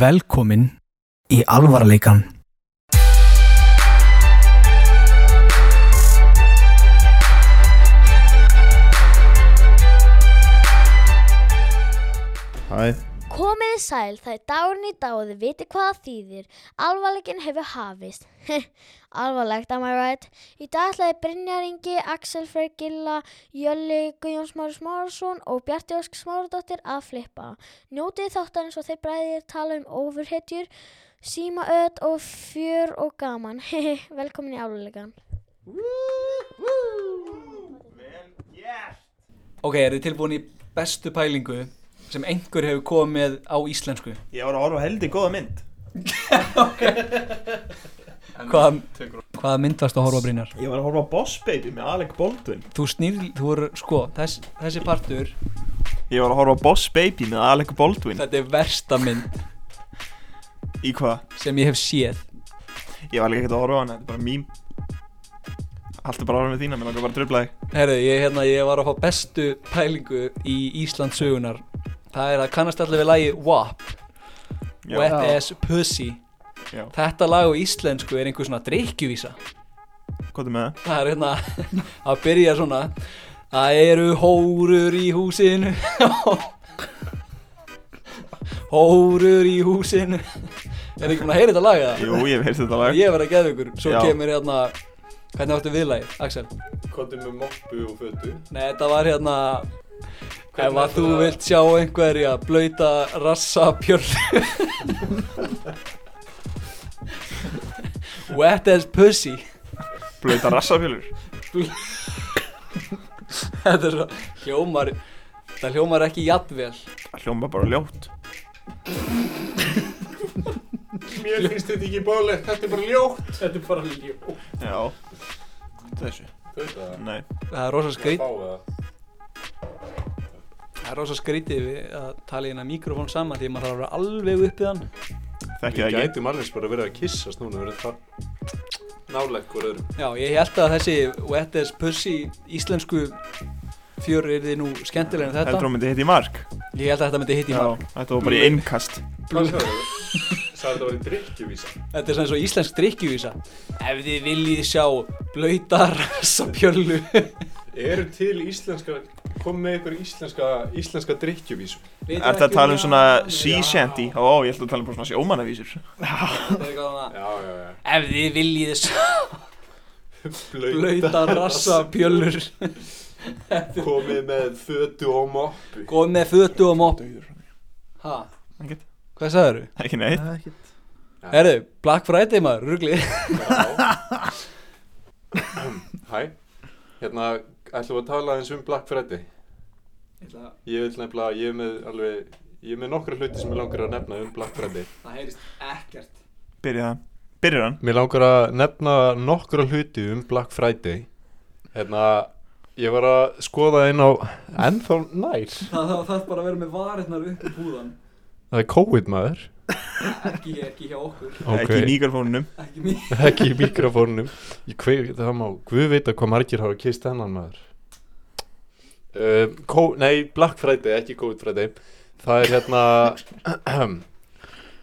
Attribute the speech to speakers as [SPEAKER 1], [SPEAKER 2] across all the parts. [SPEAKER 1] Velkomin í alvarleikan.
[SPEAKER 2] Hæ,
[SPEAKER 3] Komiði sæl, það er dagurinn í dag og þið viti hvað það þýðir. Alvarleikin hefur hafist. Alvarlegt, am I right? Í dag ætlaði Brynjar Ingi, Axel Freyr Gilla, Jölli Guðjón Smári Smárasson og Bjarti Ósk Smáradóttir að flippa. Njótið þáttarins og þeir bræðir tala um ofurhetjur, síma öð og fjör og gaman. Velkomin í alvarleikan.
[SPEAKER 4] Ok, eru þið tilbúin í bestu pælingu sem einhver hefur komið á íslensku?
[SPEAKER 2] ég var að horfa á heldig góða mynd
[SPEAKER 4] Hvað, hvaða mynd varst að horfa Brynjar?
[SPEAKER 2] Ég var að horfa á Boss Baby með Alec Baldwin
[SPEAKER 4] Þú snýr, þú eru, sko, þess, þessi partur,
[SPEAKER 2] Ég var að horfa á Boss Baby með Alec Baldwin
[SPEAKER 4] þetta er versta mynd
[SPEAKER 2] Í hvað?
[SPEAKER 4] sem ég hef séð.
[SPEAKER 2] Ég var líka ekkert að horfa á hana, þetta er bara mím Haltu bara að horfa með þína, mér langar bara að drubla þig
[SPEAKER 4] Herðu, ég, hérna, ég var að fá bestu pælingu í Íslands sögunar. Það er að kannast allir við lagi WAP, Wet Ass Pussy.
[SPEAKER 2] Já.
[SPEAKER 4] Þetta lag á íslensku er einhver svona drikkjuvísa.
[SPEAKER 2] hvað er með það?
[SPEAKER 4] Það er hérna, það byrja svona, það eru hórur í húsinu, hórur í húsinu. Er ekki búin að heyra þetta lag eða?
[SPEAKER 2] Jú, ég hef heyrst þetta lag
[SPEAKER 4] Ég verð að geða ykkur, svo
[SPEAKER 2] Já.
[SPEAKER 4] kemur hérna, hvernig áttu viðlagið, Axel?
[SPEAKER 5] Kondum með moppu og fötu
[SPEAKER 4] Nei, þetta var hérna, ef
[SPEAKER 5] Hvernig
[SPEAKER 4] að þú
[SPEAKER 5] var það?
[SPEAKER 4] vilt sjá einhverja blöyta rassa pjörlu. Wet as pussy.
[SPEAKER 2] Blöita rassafjölur
[SPEAKER 4] Þetta er svo hljómar Þetta hljómar ekki jafnvel
[SPEAKER 2] Það hljóma bara ljótt
[SPEAKER 5] Mér finnst þetta ekki bóðlegt, þetta er bara ljótt Þetta er bara ljótt
[SPEAKER 2] Já Þessu
[SPEAKER 5] Þetta er
[SPEAKER 2] Nei
[SPEAKER 4] Það er rosa skrít
[SPEAKER 5] báða
[SPEAKER 4] Það er rosa skrítið við að tala í hérna mikrofón saman Því að maður þarf að vera alveg uppið hann
[SPEAKER 2] Þekki
[SPEAKER 5] Við
[SPEAKER 2] það ekki
[SPEAKER 5] gætum alveg bara verið að kissast núna Við erum það nálega hver öðrum
[SPEAKER 4] Já, ég held að þessi Wet as Pussy íslensku fjör er þið nú skemmtilega en
[SPEAKER 2] Heldur
[SPEAKER 4] þetta
[SPEAKER 2] hún myndi hitt í mark?
[SPEAKER 4] Ég held að þetta myndi hitt í mark
[SPEAKER 2] Þetta var bara í innkast
[SPEAKER 5] Hvað sagði það? Sagði þetta var í drikkjuvísa
[SPEAKER 4] Þetta er svona svo íslensk drikkjuvísa Ef þið viljið sjá blöytar rassa pjörlu
[SPEAKER 5] Eru til íslenska, kom með ykkur íslenska, íslenska drikkjuvísu
[SPEAKER 2] Er þetta að tala um svona sea shanty? Ó, ég ætla að tala um bara svona sjómannavísur
[SPEAKER 4] Ef
[SPEAKER 5] Já, já, já
[SPEAKER 4] þið viljið sjá
[SPEAKER 5] Blöyta
[SPEAKER 4] blöytar rassa pjörlur
[SPEAKER 5] Komið með fötu og moppu
[SPEAKER 4] Góð með fötu og mopp Hæ?
[SPEAKER 2] Ekkert.
[SPEAKER 4] Hvað sagður þú?
[SPEAKER 2] Ekki neitt
[SPEAKER 4] Herðu, Black Friday maður, ruggli
[SPEAKER 5] Já Hæ Hérna, ætlum við að tala eins um Black Friday
[SPEAKER 4] Það
[SPEAKER 5] Ég vil nefnilega, ég er með alveg, ég er með nokkra hluti sem ég langar að nefna um Black Friday.
[SPEAKER 4] heyrist ekkert
[SPEAKER 2] Byrja það Byrja hann
[SPEAKER 5] Mér langar að nefna nokkra hluti um Black Friday. Hérna, ég var að skoða inn á ennþá nær.
[SPEAKER 4] Það það þarf bara að vera með varirnar upp í húðan
[SPEAKER 5] Það er COVID maður.
[SPEAKER 4] Ekki, ekki hjá okkur,
[SPEAKER 2] Ekki í mikrofónunum
[SPEAKER 4] ekki mér
[SPEAKER 5] Ekki í mikrofónum. Ég kveik, það má, guð veit að hvað margir hafa kist hennan maður. Um, kó, nei, Black Friday, ekki COVID Friday. Það er hérna,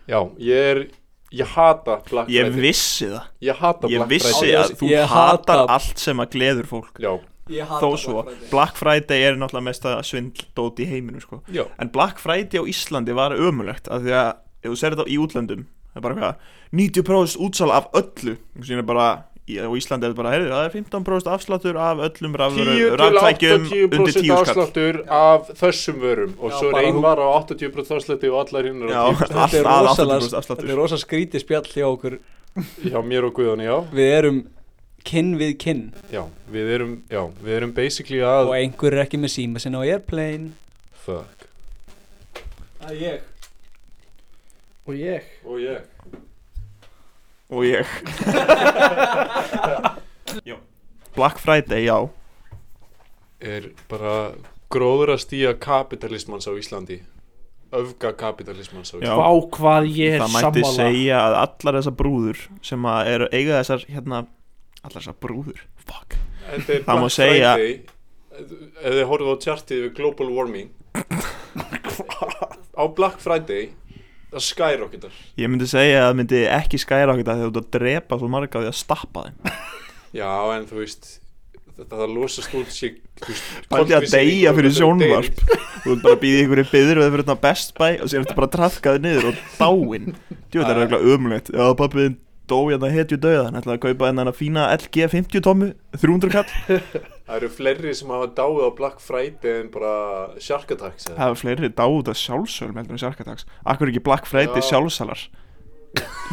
[SPEAKER 5] já, ég er, ég hata Black Friday.
[SPEAKER 2] Ég vissi það
[SPEAKER 5] Ég hata
[SPEAKER 2] Ég
[SPEAKER 5] Black
[SPEAKER 2] vissi
[SPEAKER 5] Friday
[SPEAKER 2] að þú
[SPEAKER 4] Ég
[SPEAKER 2] hatar
[SPEAKER 4] hata-
[SPEAKER 2] allt sem að gleður fólk
[SPEAKER 5] Já,
[SPEAKER 4] Ég
[SPEAKER 2] Þó
[SPEAKER 4] hata
[SPEAKER 2] svo,
[SPEAKER 4] Black Friday
[SPEAKER 2] Black Friday er náttúrulega mesta svindldót í heiminum sko.
[SPEAKER 5] já,
[SPEAKER 2] En Black Friday á Íslandi var ömulegt af Því að ef þú sér þetta í útlöndum Það er bara hvað, 90% útsal af öllu Sýnir bara, í- á Íslandi er þetta bara heyrðu, Það er 15% afsláttur af öllum
[SPEAKER 5] 10 til
[SPEAKER 2] Ráttækjum undir
[SPEAKER 5] 80%
[SPEAKER 2] 10 skall
[SPEAKER 5] afsláttur af þessum vörum og
[SPEAKER 4] Já,
[SPEAKER 5] svo er
[SPEAKER 4] bara
[SPEAKER 5] ein
[SPEAKER 4] hún-
[SPEAKER 5] vara á 80% afslætti og allar hinn
[SPEAKER 2] Já,
[SPEAKER 5] á
[SPEAKER 2] allt
[SPEAKER 5] 10%
[SPEAKER 2] að
[SPEAKER 4] Þetta er
[SPEAKER 2] 80%
[SPEAKER 4] rosalega, þetta er
[SPEAKER 2] afsláttur
[SPEAKER 4] rosa skrítið spjall hjá okkur
[SPEAKER 5] Já, mér og Guðan, já,
[SPEAKER 4] Við erum kinn við kinn
[SPEAKER 5] já Við erum, já, við erum basically
[SPEAKER 4] Og
[SPEAKER 5] að
[SPEAKER 4] einhver er ekki með síma sinna á airplane
[SPEAKER 5] Fuck
[SPEAKER 4] Það er ég
[SPEAKER 6] Og ég
[SPEAKER 5] Og ég
[SPEAKER 2] Og ég Já. Black Friday, já
[SPEAKER 5] Er bara gróður að stíja kapitalismans á Íslandi Öfga kapitalismans á Íslandi
[SPEAKER 2] Já.
[SPEAKER 6] Vá hvað ég er
[SPEAKER 2] það mætti
[SPEAKER 6] sammála
[SPEAKER 2] segja að allar þessar brúður sem að eru eiga þessar hérna allar þessar brúður fuck
[SPEAKER 5] Þetta er
[SPEAKER 2] Það má
[SPEAKER 5] Black
[SPEAKER 2] segja-
[SPEAKER 5] Friday Ef þið horfðu á tjartið við Global Warming Á Black Friday það skyrocketar
[SPEAKER 2] Ég myndi segja að það myndi ekki skæra okkur þegar þú ert að drepa svo marga því að stappa þeim
[SPEAKER 5] Já, en þú veist þetta það losast út sér
[SPEAKER 2] Pældi að deyja fyrir sjónvarp Þú ert bara að býða ykkur í byður við fyrir þetta Best Buy og sér þetta bara trafkaði niður og dáin Djú, þetta er regla umlegt Já, pappi þinn dó hérna hetju döða Hann ætlaði að kaupa hennar fína LG 50 tommu 300 kall
[SPEAKER 5] Það eru fleiri sem hafa dáið á Black Friday en bara Shark Attacks eða?
[SPEAKER 2] Það var fleiri dáð að sjálfsöl með hennar sjarkatags Akkur ekki Black Friday
[SPEAKER 5] Já.
[SPEAKER 2] sjálfsalar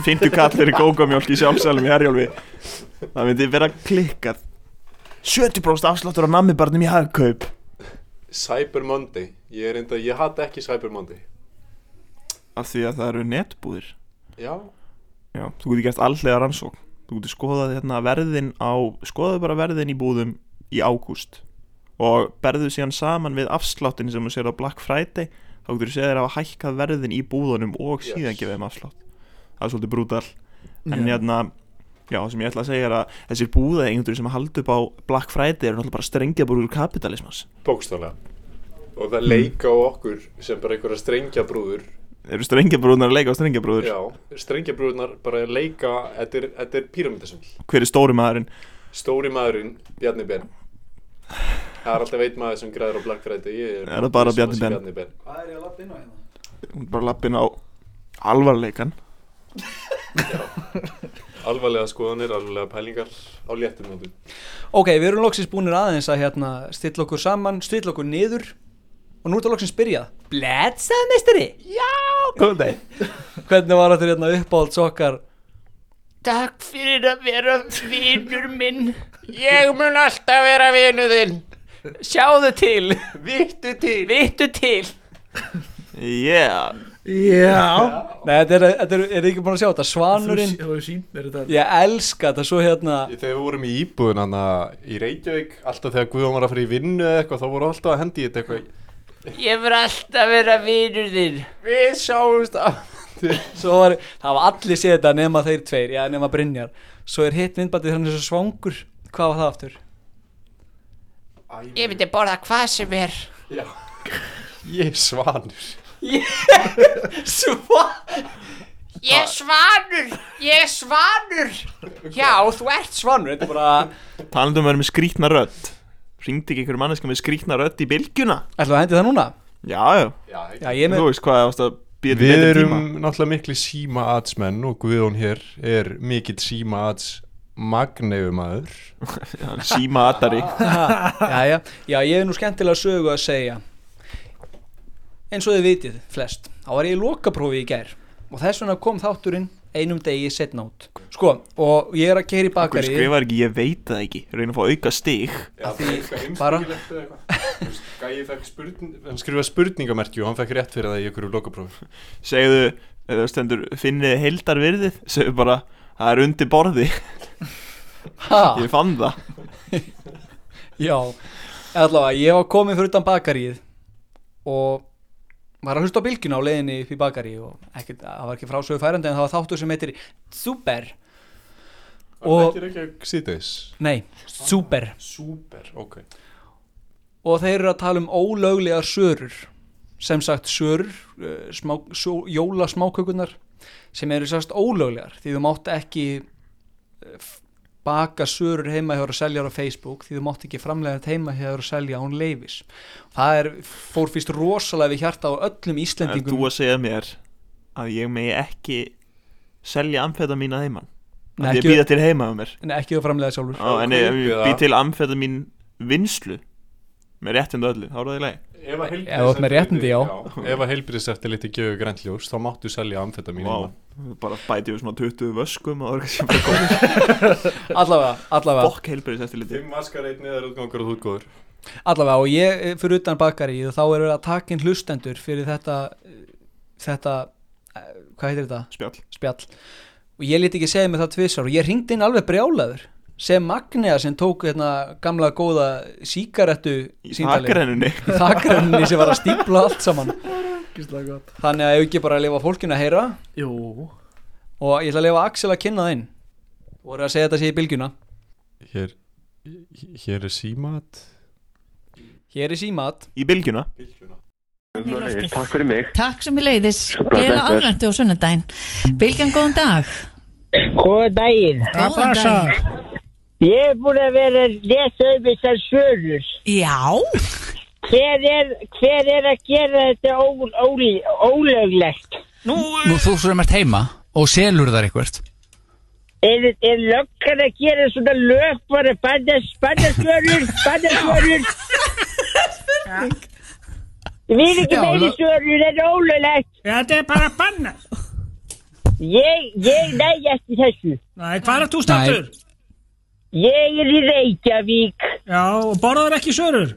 [SPEAKER 2] 50 kall fyrir kókomjólk í sjálfsalum í herjálfi Það myndi vera klikkað 70% afsláttur á nammibarnum í hagkaup
[SPEAKER 5] Cyber Monday Ég er enda, ég hatt ekki Cyber Monday
[SPEAKER 2] Af því að það eru netbúðir
[SPEAKER 5] Já,
[SPEAKER 2] Já, þú getur gert allega rannsókn Þú getur skoðað hérna verðin á Skoðaðu bara verðin í búðum í ágúst Og berðu síðan saman við afsláttin sem þú sér á Black Friday Þá getur þú séð þér að hafa hækkað verðin í búðunum Og
[SPEAKER 5] Yes.
[SPEAKER 2] síðan gefið þeim afslátt Það er svolítið brútal En hérna, já, það sem ég ætla að segja er að Þessir búðaeigendur sem haldi upp á Black Friday Eru náttúrulega bara strengja úr kapitalismans
[SPEAKER 5] bókstálega Og það leika á okkur sem bara einhverja strengjabrúður
[SPEAKER 2] Eru strengjabrúðnar að leika á strengjabrúður
[SPEAKER 5] Já, strengjabrúðunar bara leika Þetta er, þetta er píramidasöld
[SPEAKER 2] Hver er stóri maðurinn?
[SPEAKER 5] Stóri maðurinn, Bjarni Ben Það er alltaf einn maður sem græður á Black Friday Ég
[SPEAKER 2] Er það bara Bjarni
[SPEAKER 5] viss um að sé
[SPEAKER 2] Ben?
[SPEAKER 5] Bjarni Ben
[SPEAKER 7] Hvað er ég að lappa inn á hérna?
[SPEAKER 2] Hún er bara lappin á alvarleikan
[SPEAKER 5] Alvarlega skoðanir, alvarlega pælingar á léttum nótum
[SPEAKER 7] Ok, við erum loksins búinir aðeins að hérna stilla okkur saman, stilla okkur niður og nú er þetta loksins byrjað Bletsaði meistari! Já! Góðan dag! Hvernig var þetta hérna uppáhalds okkar?
[SPEAKER 4] Takk fyrir að vera vinur minn. Ég mun alltaf vera vinur þinn. Sjáðu til. Vittu til. Vittu til.
[SPEAKER 2] Yeah
[SPEAKER 6] Já
[SPEAKER 7] Nei, þetta er, þetta er, er ekki búin að sjá þetta, Svanurinn
[SPEAKER 6] Þú hefur sínt mér þetta
[SPEAKER 7] Ég elska þetta svo hérna
[SPEAKER 5] Þegar við vorum í íbúðun hann í Reykjavík, alltaf þegar Guðan var að fara í vinnu eða eitthvað, þá voru alltaf að hendi í þetta eitthvað.
[SPEAKER 4] Ég mun alltaf vera vinur þinn.
[SPEAKER 5] Við sjáumst að...
[SPEAKER 7] svo var, það var allir séð þetta nema þeir tveir, já nema Brynjar svo er hitt myndbandið hann er svo svangur hvað var það aftur?
[SPEAKER 4] Ég myndi borða hvað sem er.
[SPEAKER 5] Já. Ég er svanur.
[SPEAKER 7] Sva?
[SPEAKER 4] Ég er svanur. Ég er svanur. Já, þú ert
[SPEAKER 7] Svanur, þetta er bara
[SPEAKER 2] Talandum um að vera með skrítna rödd Ringdi ekki einhver manneska með skrítna rödd í bylgjuna
[SPEAKER 7] Ætlaðu að hendi það núna?
[SPEAKER 2] Já, já,
[SPEAKER 5] Já,
[SPEAKER 7] Já, ég er með
[SPEAKER 2] þú veist hvað varst að býða
[SPEAKER 5] Við erum náttúrulega mikli síma atsmenn og Guðan hér er mikill síma ats magnefumæður.
[SPEAKER 2] tíma Síma Atari
[SPEAKER 7] já, já, já, ég hef nú skemmtilega sögu að segja eins og þið vitið flest, þá var ég í lokaprófi í gær og þess vegna kom þátturinn einum degi setna út sko, og ég er að keira í
[SPEAKER 2] Hver
[SPEAKER 7] bakari
[SPEAKER 2] skrifar ekki, ég veit það ekki Reina að fá auka stig
[SPEAKER 5] Já,
[SPEAKER 7] því- bara-
[SPEAKER 5] Gæi fekk spurning, hann skrifaði spurningamerkju og hann fekk rétt fyrir það í ykkur lokaprófi.
[SPEAKER 2] Segðu, eða þú stendur, finnið heildar virðið Segðu bara, það er undir borði
[SPEAKER 7] ha,
[SPEAKER 2] Ég fann það
[SPEAKER 7] já, allavega ég var komin fyrir utan bakaríð og var að hlusta á bylgjuna á leiðinni upp í bakari og ekkert, það var ekki frásögu færandi en það var þáttur sem heitir Super
[SPEAKER 5] Og...
[SPEAKER 7] Og-
[SPEAKER 5] Það er ekki að sýtis.
[SPEAKER 7] nei, Super
[SPEAKER 5] Súper, ok.
[SPEAKER 7] og þeir eru að tala um ólöglegar sörur sem sagt sörur eh, smá, sjó, jóla smákökunar sem eru sérst ólöglegar því þú mátt ekki eh, f- baka sörur heima hjá að selja á Facebook því þú mátt ekki framlega þetta heima hjá að selja án leifis það er, fór fyrst rosalega við hjarta á öllum
[SPEAKER 2] Er þú
[SPEAKER 7] Íslendingum
[SPEAKER 2] að segja mér að ég megi ekki selja amfetamín að heiman Nei,
[SPEAKER 7] Nei,
[SPEAKER 2] Ég
[SPEAKER 7] ekki- Oh,
[SPEAKER 2] býða til heima um mér
[SPEAKER 7] en ekki þú framlega sjálfur
[SPEAKER 2] Á, En ef ég
[SPEAKER 5] kaupi
[SPEAKER 2] býð
[SPEAKER 5] það.
[SPEAKER 2] til amfetamín vinslu Með réttindu öllu, þá er það í lagi
[SPEAKER 5] Ef að
[SPEAKER 7] Ef þú ert með réttindi, já.
[SPEAKER 5] já Ef að heilbriðseftiliti gefur grænt ljós þá máttu selja amfetamín
[SPEAKER 2] Vá, bara bæti við svona 20 vöskum og það er kannski bara komið
[SPEAKER 7] allavega, allavega
[SPEAKER 2] bokk heilbreyðis eftir liti
[SPEAKER 5] Fimm maskar einn eða útgangur og þútgóður
[SPEAKER 7] allavega og ég eh, fyrir utan bakari þá eru verið að taka inn hlustendur fyrir þetta eh, þetta, eh, hvað heitir þetta?
[SPEAKER 2] spjall
[SPEAKER 7] spjall og ég liti ekki segja mig það tvisar og ég ringdi inn alveg brjálaður sem Magnea sem tók hérna gamla góða síkarettu
[SPEAKER 2] í
[SPEAKER 7] símtalið.
[SPEAKER 2] takrennunni
[SPEAKER 7] þakrenninni sem var að stípla allt saman
[SPEAKER 6] Gíslega gott
[SPEAKER 7] þannig að ég ekki bara að lifa fólkinu að heyra
[SPEAKER 6] Jú
[SPEAKER 7] og ég ætla að lifa Axel að kynna það inn og voru að segja þetta sé í bylgjuna
[SPEAKER 5] Hér, hér er símat
[SPEAKER 7] hér er símat
[SPEAKER 2] í bylgjuna
[SPEAKER 8] Takk fyrir mig Takk sem ég leiðis, gleða aðræntu á sunnudaginn Bilgjan, góðan dag
[SPEAKER 9] Góðan daginn.
[SPEAKER 8] Hvað Góðan passar?
[SPEAKER 9] Ég er búin að vera að lesa um þessar svörur.
[SPEAKER 8] Já
[SPEAKER 9] Hver er, hver er að gera þetta ó- ól- ólöglegt?
[SPEAKER 10] Nú, þú svo er mært heima og selur þar eitthvað
[SPEAKER 9] Er, er löggan að gera svona lög bara bannas, bannasvörur, bannasvörur? Ég vil ekki
[SPEAKER 10] Já,
[SPEAKER 9] meiri
[SPEAKER 10] lög-
[SPEAKER 9] svörur, þetta er ólöglegt. Já, þetta er bara bannas. Ég, ég næg eftir þessu. Nei, hvað er þú
[SPEAKER 10] staddur?
[SPEAKER 9] Ég er í Reykjavík. Já, og borðar ekki svörur?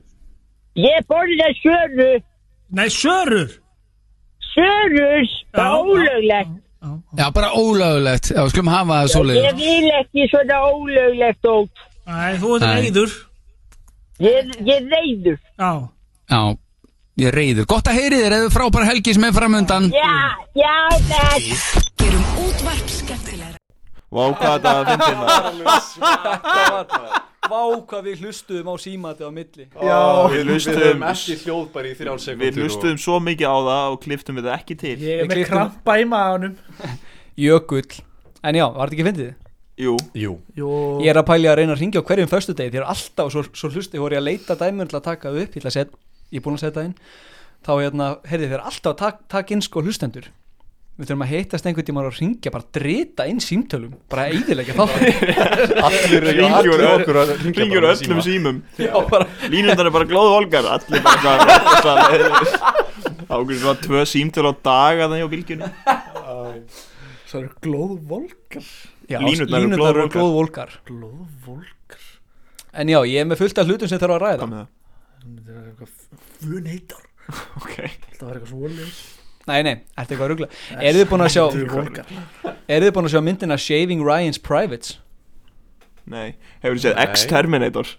[SPEAKER 9] Ég borða svöru. Nei, svörur. Svörur, það er ólöglegt.
[SPEAKER 10] Já, bara ólögulegt, já, skulum hafa það
[SPEAKER 9] Ég
[SPEAKER 10] svoleiðis
[SPEAKER 9] vil ekki svona ólöglegt ótt. Nei, þú
[SPEAKER 10] ert Nei. reiður.
[SPEAKER 9] Ég, ég er reyður. Já.
[SPEAKER 10] Já, ég er reyður Gott að heyri þér eða frábær helgi sem er framundan
[SPEAKER 9] Já, já, þess.
[SPEAKER 8] Gerum útvarp skemmtilegra
[SPEAKER 2] Vá hvað þetta að fyndi maður
[SPEAKER 7] Vá hvað við hlustuðum á símati á milli
[SPEAKER 5] Já,
[SPEAKER 2] Við
[SPEAKER 5] við
[SPEAKER 2] hlustuðum-
[SPEAKER 5] höfum ekki hljóð bara í þrjár sekundir
[SPEAKER 2] Við hlustuðum svo mikið á það og kliftum við það ekki til
[SPEAKER 6] Ég er
[SPEAKER 7] Við
[SPEAKER 6] með
[SPEAKER 7] klipptum-
[SPEAKER 6] krampa í maðanum.
[SPEAKER 7] Jökull En já, var þetta ekki fyndið?
[SPEAKER 2] Jú,
[SPEAKER 5] Jú,
[SPEAKER 6] Jó.
[SPEAKER 7] Ég er að pælja að reyna að ringja á hverjum föstudegi Þér er alltaf svo, svo hlusti Ég voru ég að leita dæmur til að taka það upp Ég, ætla að set, ég er búin að setja það inn Þá hérna, heyrði þér alltaf að tak, taka inn sko hlustendur Við þurfum að heitast einhvern tímann og ringja Bara drita inn símtölum Bara eidilegja þáttum
[SPEAKER 5] allir
[SPEAKER 2] ringjur
[SPEAKER 5] allir
[SPEAKER 2] okkur Ringjur
[SPEAKER 5] bara í
[SPEAKER 2] öllum
[SPEAKER 5] síma.
[SPEAKER 2] símum
[SPEAKER 7] Já, bara
[SPEAKER 2] Línundar er bara glóðu volgar Allir bara hvað Ákveður svona tvö símtöl á dag að það hjá bylgjunni
[SPEAKER 6] Það eru glóðvolkar.
[SPEAKER 7] Já,
[SPEAKER 2] Línurnar eru
[SPEAKER 7] línurnar eru
[SPEAKER 2] glóðvolgar.
[SPEAKER 7] glóðvolkar
[SPEAKER 6] Glóðvolkar.
[SPEAKER 7] En já, ég er með fullt af hlutum sem þarf að ræða
[SPEAKER 2] Hvað með það?
[SPEAKER 6] Það er eitthvað funeitar.
[SPEAKER 2] Ok
[SPEAKER 6] Það var eitthvað svoleiðis.
[SPEAKER 7] Nei, nei, ertu eitthvað að rugla Eru þið búin að sjá
[SPEAKER 6] Volkar.
[SPEAKER 7] Eru þið búin að sjá myndina Shaving Ryan's Privates?
[SPEAKER 2] Nei Hefur þið séð
[SPEAKER 5] Nei.
[SPEAKER 2] X-Terminator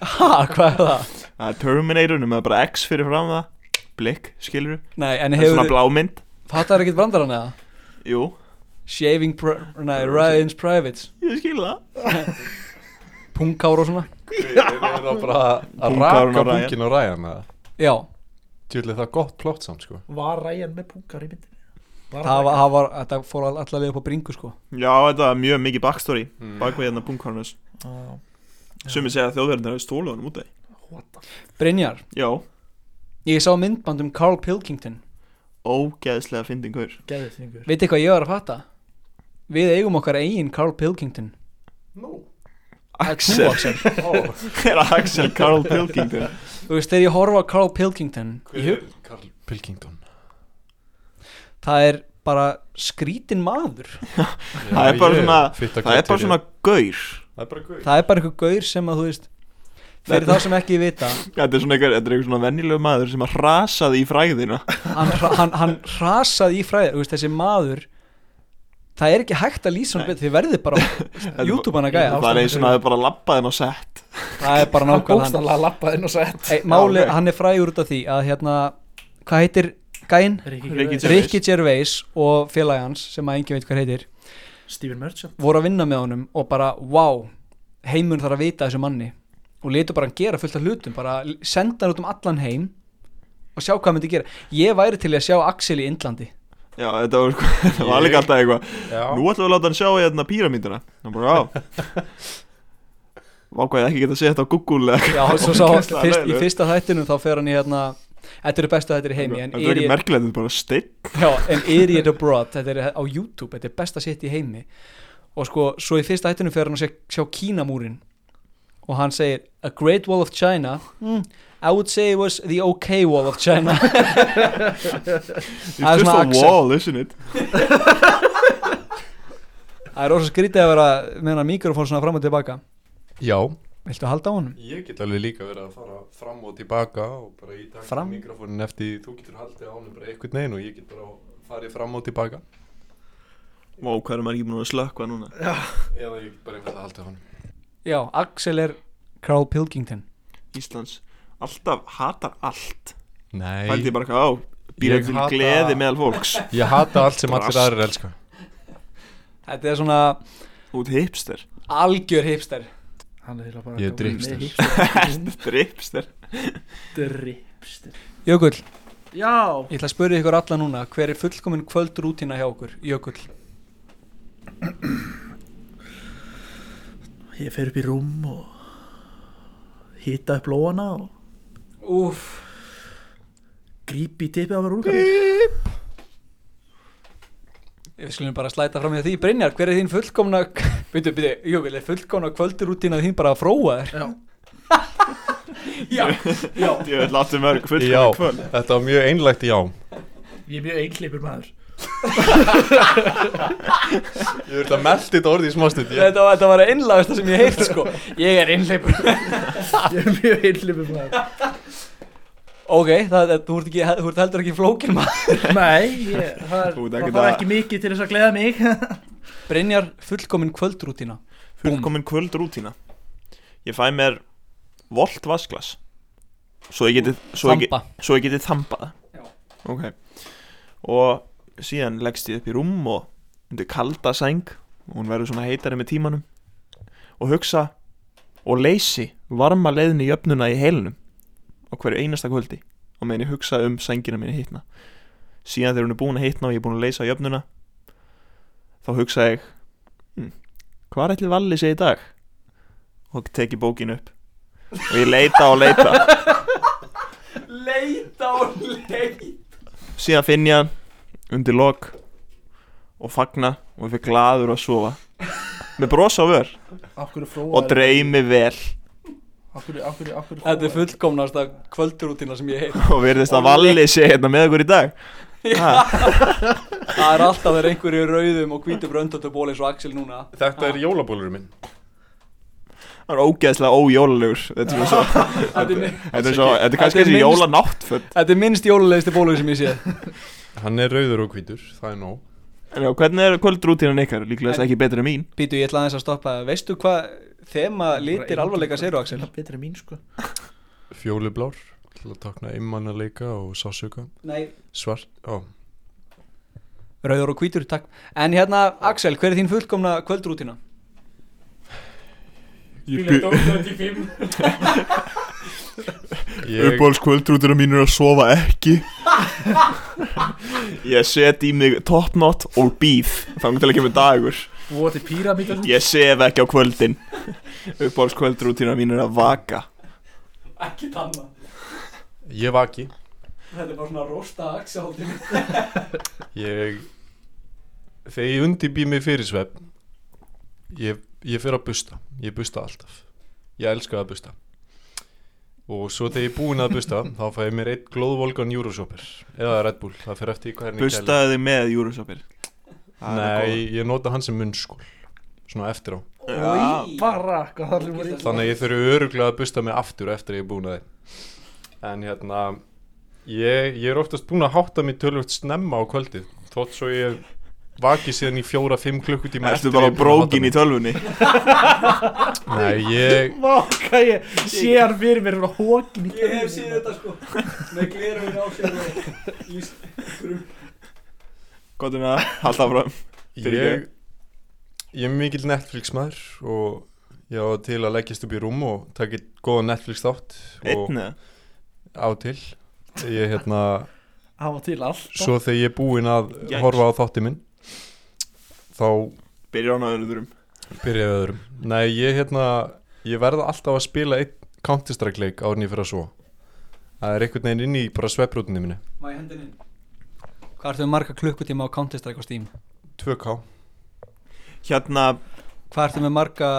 [SPEAKER 7] Ha, hvað er það?
[SPEAKER 2] Það er Terminatornum eða bara X fyrir fram það Blikk, skilur
[SPEAKER 7] Nei, en
[SPEAKER 2] Það er
[SPEAKER 7] hefur
[SPEAKER 2] svona blámynd
[SPEAKER 7] Fattar ekkert brandarann eða?
[SPEAKER 2] Jú
[SPEAKER 7] Shaving pr nei, Ryan's Privates
[SPEAKER 2] Ég skil það
[SPEAKER 7] Pungkár og svona
[SPEAKER 5] Við við erum bara að
[SPEAKER 2] Pungkárinn á
[SPEAKER 5] raka
[SPEAKER 2] Ryan.
[SPEAKER 5] pungin og ræðan Þú
[SPEAKER 7] Já,
[SPEAKER 5] vil það er gott plott samt sko
[SPEAKER 6] Var Ryan með punkar í myndinni? Var
[SPEAKER 7] það
[SPEAKER 6] hann
[SPEAKER 7] var, það var Þetta fór all- alla leið upp á bringu sko
[SPEAKER 2] Já, þetta er mjög mikið backstory mm. Bakveg hérna Punkarnus
[SPEAKER 6] Já.
[SPEAKER 2] Sumi segja að þjóðverðin er stólið hann út af
[SPEAKER 7] Brynjar,
[SPEAKER 2] því. Já,
[SPEAKER 7] ég sá myndband um Carl Pilkington
[SPEAKER 2] ógeðslega fyndingur
[SPEAKER 6] Gæðið þingur.
[SPEAKER 7] Veit hvað ég var að fatta? Við eigum okkar eigin Carl Pilkington
[SPEAKER 2] Axel Er að Axel Carl Pilkington
[SPEAKER 7] Þú veist, þegar ég horfa á Carl Pilkington í hug,
[SPEAKER 5] Karl Pilkington
[SPEAKER 7] Það er bara skrítin maður
[SPEAKER 2] Það er bara svona Það er bara svona gaur
[SPEAKER 5] Það er bara guð
[SPEAKER 7] Það er bara einhver gaur sem að þú veist Fyrir
[SPEAKER 2] Þetta-
[SPEAKER 7] þá sem ekki vita
[SPEAKER 2] Þetta er svona einhver, þetta er einhver svona venjulegu maður sem að rasaði í fræðina
[SPEAKER 7] hann, hra- hann, hann hrasaði í fræði veist, þessi maður það er ekki hægt að lýsa hann betur þið verðið bara á YouTube hann að gæja
[SPEAKER 2] Það er eins og það er bara labbaðin á sett
[SPEAKER 7] það er bara
[SPEAKER 6] Hann
[SPEAKER 7] nákvæmlega hann
[SPEAKER 6] bókstaflega lappaði inn og sett.
[SPEAKER 7] Ei, máli,
[SPEAKER 2] Já, ok.
[SPEAKER 7] hann er frægur út af því að hérna hvað heitir gæinn?
[SPEAKER 2] Ricky
[SPEAKER 6] Ríkir.
[SPEAKER 2] Gervais.
[SPEAKER 7] Ricky Gervais og félagi hans sem að engin veit hvað heitir
[SPEAKER 6] Stephen Merchant.
[SPEAKER 7] voru að vinna með honum og bara wow, heimurinn þarf að vita af þessu manni og letu bara hann gera fullt af hlutum bara senda hann út um allan heim og sjá hvað hann myndi gera ég væri til í að sjá Axel í Indlandi
[SPEAKER 2] Já, þetta var, sko- þetta var alveg alltaf eitthvað Nú ætlum við að láta hann sjá hérna píramíndina Hann bara, já Vákvæði ekki geta að segja þetta á Google eða
[SPEAKER 7] Já, svo sá
[SPEAKER 2] Ógeðslega
[SPEAKER 7] fyrst, í
[SPEAKER 2] leiðilegt.
[SPEAKER 7] fyrsta þættinum þá fer hann í hérna Þetta eru bestu þættir í heimi en
[SPEAKER 2] Þetta er
[SPEAKER 7] er,
[SPEAKER 2] ekki
[SPEAKER 7] ég,
[SPEAKER 2] merkilegt, þetta er bara steinn
[SPEAKER 7] já, en er ég abroad Þetta er á YouTube, þetta er besta sitt í heimi Og sko, svo í fyrsta þættinum fer hann að sjá, sjá Kínamúrin Og hann segir A Great Wall of China mm, I would say it was the OK Wall of China Það er
[SPEAKER 2] It's just
[SPEAKER 7] svona
[SPEAKER 2] a
[SPEAKER 7] Axel.
[SPEAKER 2] wall, isn't it?
[SPEAKER 7] Það er rosa skrítið að vera með hann mikrofón svona fram og tilbaka
[SPEAKER 5] Já
[SPEAKER 7] Viltu halda á honum?
[SPEAKER 5] Ég get alveg líka verið að fara fram og tilbaka og bara í takt
[SPEAKER 7] Fram?
[SPEAKER 5] fram. mikrofonin eftir því þú getur haldið á hann bara einhvern veginn og ég get bara farið fram og tilbaka
[SPEAKER 2] Vá, hvað er maður ekki búin að slökka núna?
[SPEAKER 5] eða ég get bara einhvern haldið á hann
[SPEAKER 7] Já, Axel er Carl Pilkington
[SPEAKER 2] Íslands Alltaf hatar allt Pældi
[SPEAKER 5] Nei,
[SPEAKER 2] ég bara eitthvað á Býra
[SPEAKER 5] Ég
[SPEAKER 2] til
[SPEAKER 5] hata-
[SPEAKER 2] gleði meðal fólks
[SPEAKER 5] ég hata allt sem allir
[SPEAKER 2] Drast.
[SPEAKER 5] aðrir elska
[SPEAKER 7] Þetta er svona
[SPEAKER 2] Út hipster
[SPEAKER 7] algjör hipster
[SPEAKER 6] Hann er eiginlega bara...
[SPEAKER 5] Ég er dripster.
[SPEAKER 2] Dripster
[SPEAKER 6] Dripster.
[SPEAKER 7] Jökull,
[SPEAKER 6] Já
[SPEAKER 7] Ég ætla að spyrja ykkur alla núna Hver er fullkomin kvöldrútína hjá okkur, Jökull?
[SPEAKER 6] Ég fer upp í rúm og hýta upp lóana og
[SPEAKER 7] Úf
[SPEAKER 6] gríp í tippið á mér úlgar
[SPEAKER 7] Við skulum bara slæta fram í því Brynjar, hver er þín fullkomna Byndu, byndu, Jökull, er fullkomna kvöldrútína þín bara að fróa þér?
[SPEAKER 6] Já
[SPEAKER 7] Já, já
[SPEAKER 2] Ég vil láta mörg fullkomna
[SPEAKER 5] Já,
[SPEAKER 2] kvöld.
[SPEAKER 5] þetta var mjög einlægt já
[SPEAKER 6] Ég er mjög einhleipur maður
[SPEAKER 5] Ég verði að melda þetta orði í smástund ég-
[SPEAKER 7] Þetta, var- þetta var einlagast sem ég heilt sko Ég er einleipur Ég
[SPEAKER 6] er mjög einleipur maður
[SPEAKER 7] Ok, það, það, þú, ert ekki, þú ert heldur ekki flókin maður
[SPEAKER 6] Nei, ég, það, er,
[SPEAKER 7] Þú ert
[SPEAKER 6] það
[SPEAKER 7] ekkert
[SPEAKER 6] þarf
[SPEAKER 7] að-
[SPEAKER 6] ekki mikið til þess að gleða mig
[SPEAKER 7] Brynjar, fullkomin kvöldrútína
[SPEAKER 2] Fullkomin kvöldrútína Ég fæ mér volt vasklas Svo ég geti Svo ég,
[SPEAKER 7] Þamba.
[SPEAKER 2] svo ég geti þambað Ok Og síðan leggst ég upp í rúm og undir kalda sæng og hún verður svona heitari með tímanum og hugsa og leysi varma leiðin í jöfnuna í heilunum á hverju einasta kvöldi og meðan ég hugsa um sængina mín hittna síðan þegar hún er búin að hittna og ég er búin að leysa jöfnuna þá hugsa ég hm, hvað er ætli Valli sé í dag og teki bókin upp og ég leita og leita
[SPEAKER 7] Leita og leita
[SPEAKER 2] síðan finn ég hann undir lok og fagna og ég fyrir gladur að sofa með brosa á vör
[SPEAKER 6] Af hverju fróa
[SPEAKER 2] og
[SPEAKER 6] er-
[SPEAKER 2] dreymi vel
[SPEAKER 6] Akkur, akkur, akkur
[SPEAKER 7] Þetta er fullkomnasta kvöldrútína sem ég heit
[SPEAKER 2] og verðist að Valli sé hérna með okkur í dag
[SPEAKER 7] Það er alltaf þegar einhverju rauðum og hvítum röndatöból eins og Axel núna
[SPEAKER 5] Þetta er jólabólurinn minn
[SPEAKER 2] það er ógeðslega ójólalegur þetta er svo
[SPEAKER 7] Þetta
[SPEAKER 2] þetta
[SPEAKER 7] er-
[SPEAKER 2] er svo þetta er kannski þessi
[SPEAKER 7] minnst-
[SPEAKER 2] jólanáttföt
[SPEAKER 7] Þetta er minnst jólalegsti bólur sem ég sé
[SPEAKER 5] Hann er rauður og hvítur, það er nóg
[SPEAKER 2] en já hvernig er kvöldrútínan ykkar líklega ekki betur en mín
[SPEAKER 7] Býtu, ég ætla aðeins að stoppa Veistu hvað þema litir alvarleika séru, Axel?
[SPEAKER 6] Betur en mín sko
[SPEAKER 5] Fjólublár til að takna einmannaleika og sásöka
[SPEAKER 7] Nei.
[SPEAKER 5] Svart, á
[SPEAKER 7] Rauður og hvítur, takk En hérna, Axel, hver er þín fullkomna kvöldrútína?
[SPEAKER 2] Spila Dóra
[SPEAKER 7] 25
[SPEAKER 5] Ég-
[SPEAKER 2] kvöldrútina mín er að sofa ekki ég set í mig topnot og býð þannig til að kemur dagur
[SPEAKER 6] What a pyramid
[SPEAKER 2] Ég sef ekki á kvöldin Uppáhalds kvöldrútína mín er að vaka
[SPEAKER 7] Ekki tanna
[SPEAKER 5] Ég vaki
[SPEAKER 7] Þetta er bara svona rosta Axel
[SPEAKER 5] Ég Þegar ég undibý mig fyrir svefn Ég, ég fyrir að busta Ég busta alltaf Ég elska að busta Og svo þegar ég er búinn að busta Þá fæ ég mér eitt glóðvolgan júrosopper Eða Red Bull, það fyrir eftir í hvernig
[SPEAKER 2] Bustaðu þig með júrusopir
[SPEAKER 5] Nei, ég nota hann sem munnskól Svona eftir á
[SPEAKER 2] Já.
[SPEAKER 6] Bara, hvað það er voru illa.
[SPEAKER 5] Þannig að ég þurfi öruglega að busta mig aftur eftir að ég er búin að þeim En hérna ég, ég er oftast búin að hátta mig tölvöld snemma á kvöldið Þótt svo ég vaki síðan í fjóra-fimm klukkutíma
[SPEAKER 2] Ertu
[SPEAKER 5] eftir
[SPEAKER 2] bara
[SPEAKER 5] ég er búinn að hátta
[SPEAKER 2] brókin í
[SPEAKER 5] mig.
[SPEAKER 2] tölvunni?
[SPEAKER 5] Nei, ég
[SPEAKER 6] Vaka ég sé hann fyrir mér frá hókin
[SPEAKER 7] Ég hef síð þetta sko Með glerun á sér og ískrum
[SPEAKER 2] Hvað er með um það? Halda fram
[SPEAKER 5] Ég, ég er mikill Netflix maður og ég á til að leggjast upp í rúm og taka eitt góða Netflix þátt og-
[SPEAKER 2] Einn eða?
[SPEAKER 5] Á til Ég hérna
[SPEAKER 6] Á og til alltaf.
[SPEAKER 5] Svo þegar ég er búinn að
[SPEAKER 6] Jæks.
[SPEAKER 5] horfa á þátti minn Þá
[SPEAKER 2] Byrjar á náðunum þurrum
[SPEAKER 5] Byrjaði öðrum Nei, ég hérna Ég verða alltaf að spila einn Counter-Strike leik árin ég fyrir að svo Það er einhvern veginn inn í bara svepprútinni minni
[SPEAKER 7] Má ég hendin inn? Hvað ertu með marga klukkutíma á Counter-Strike á Steam?
[SPEAKER 5] 2K
[SPEAKER 2] Hérna
[SPEAKER 7] Hvað ertu með marga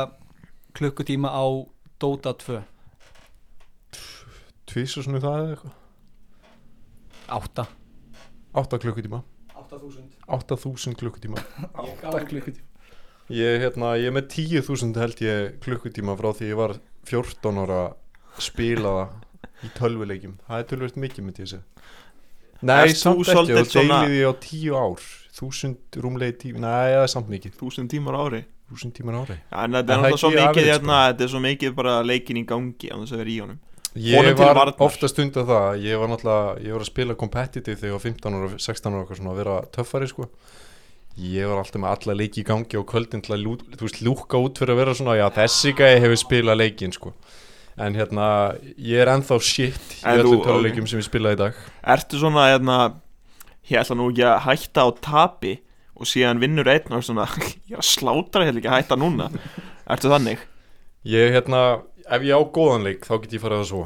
[SPEAKER 7] klukkutíma á Dota 2?
[SPEAKER 5] Tvís og svona það eða eitthvað
[SPEAKER 7] Átta
[SPEAKER 5] 8 klukkutíma
[SPEAKER 7] 8000
[SPEAKER 5] 8000 klukkutíma
[SPEAKER 6] Átta klukkutíma
[SPEAKER 5] Ég, hérna, ég er með 10.000 held ég klukkutíma frá því ég var 14 ára að spila það í tölvuleikjum Það er tölvult mikið myndi ég segja Nei,
[SPEAKER 2] Ert þú
[SPEAKER 5] samt ekki,
[SPEAKER 2] svolítið
[SPEAKER 5] þú
[SPEAKER 2] svona-
[SPEAKER 5] deilið ég á 10 ár 1000 rúmlegi tíma, nei, það er samt mikið
[SPEAKER 2] 1000 tímar á ári
[SPEAKER 5] 1000 tímar á ári
[SPEAKER 2] Já, En þetta er náttúrulega svo mikið hérna Þetta er svo mikið bara leikin í gangi Án þess að vera í honum
[SPEAKER 5] Ég
[SPEAKER 2] Honum til
[SPEAKER 5] var
[SPEAKER 2] varnar.
[SPEAKER 5] ofta stund að það Ég var náttúrulega, ég var að spila competitive þegar ég var 15 ára, 16 ára og eitthvað svona að vera töffari sko Ég var alltaf með alla leiki í gangi og kvöldin til að lú, þú veist, lúka út fyrir að vera svona Já, þessi gæði hefur spilað leikin sko En hérna, ég er ennþá shit í
[SPEAKER 2] En þú-
[SPEAKER 5] öllum töluleikjum sem ég spilaði í dag
[SPEAKER 2] Ertu svona, hérna, ég ætla nú ekki að hætta á tapi og síðan vinnur einn og er svona, ég er að slátra hérna ekki að hætta núna. Ertu þannig?
[SPEAKER 5] Ég, hérna, ef ég á góðan leik þá get ég farið að svo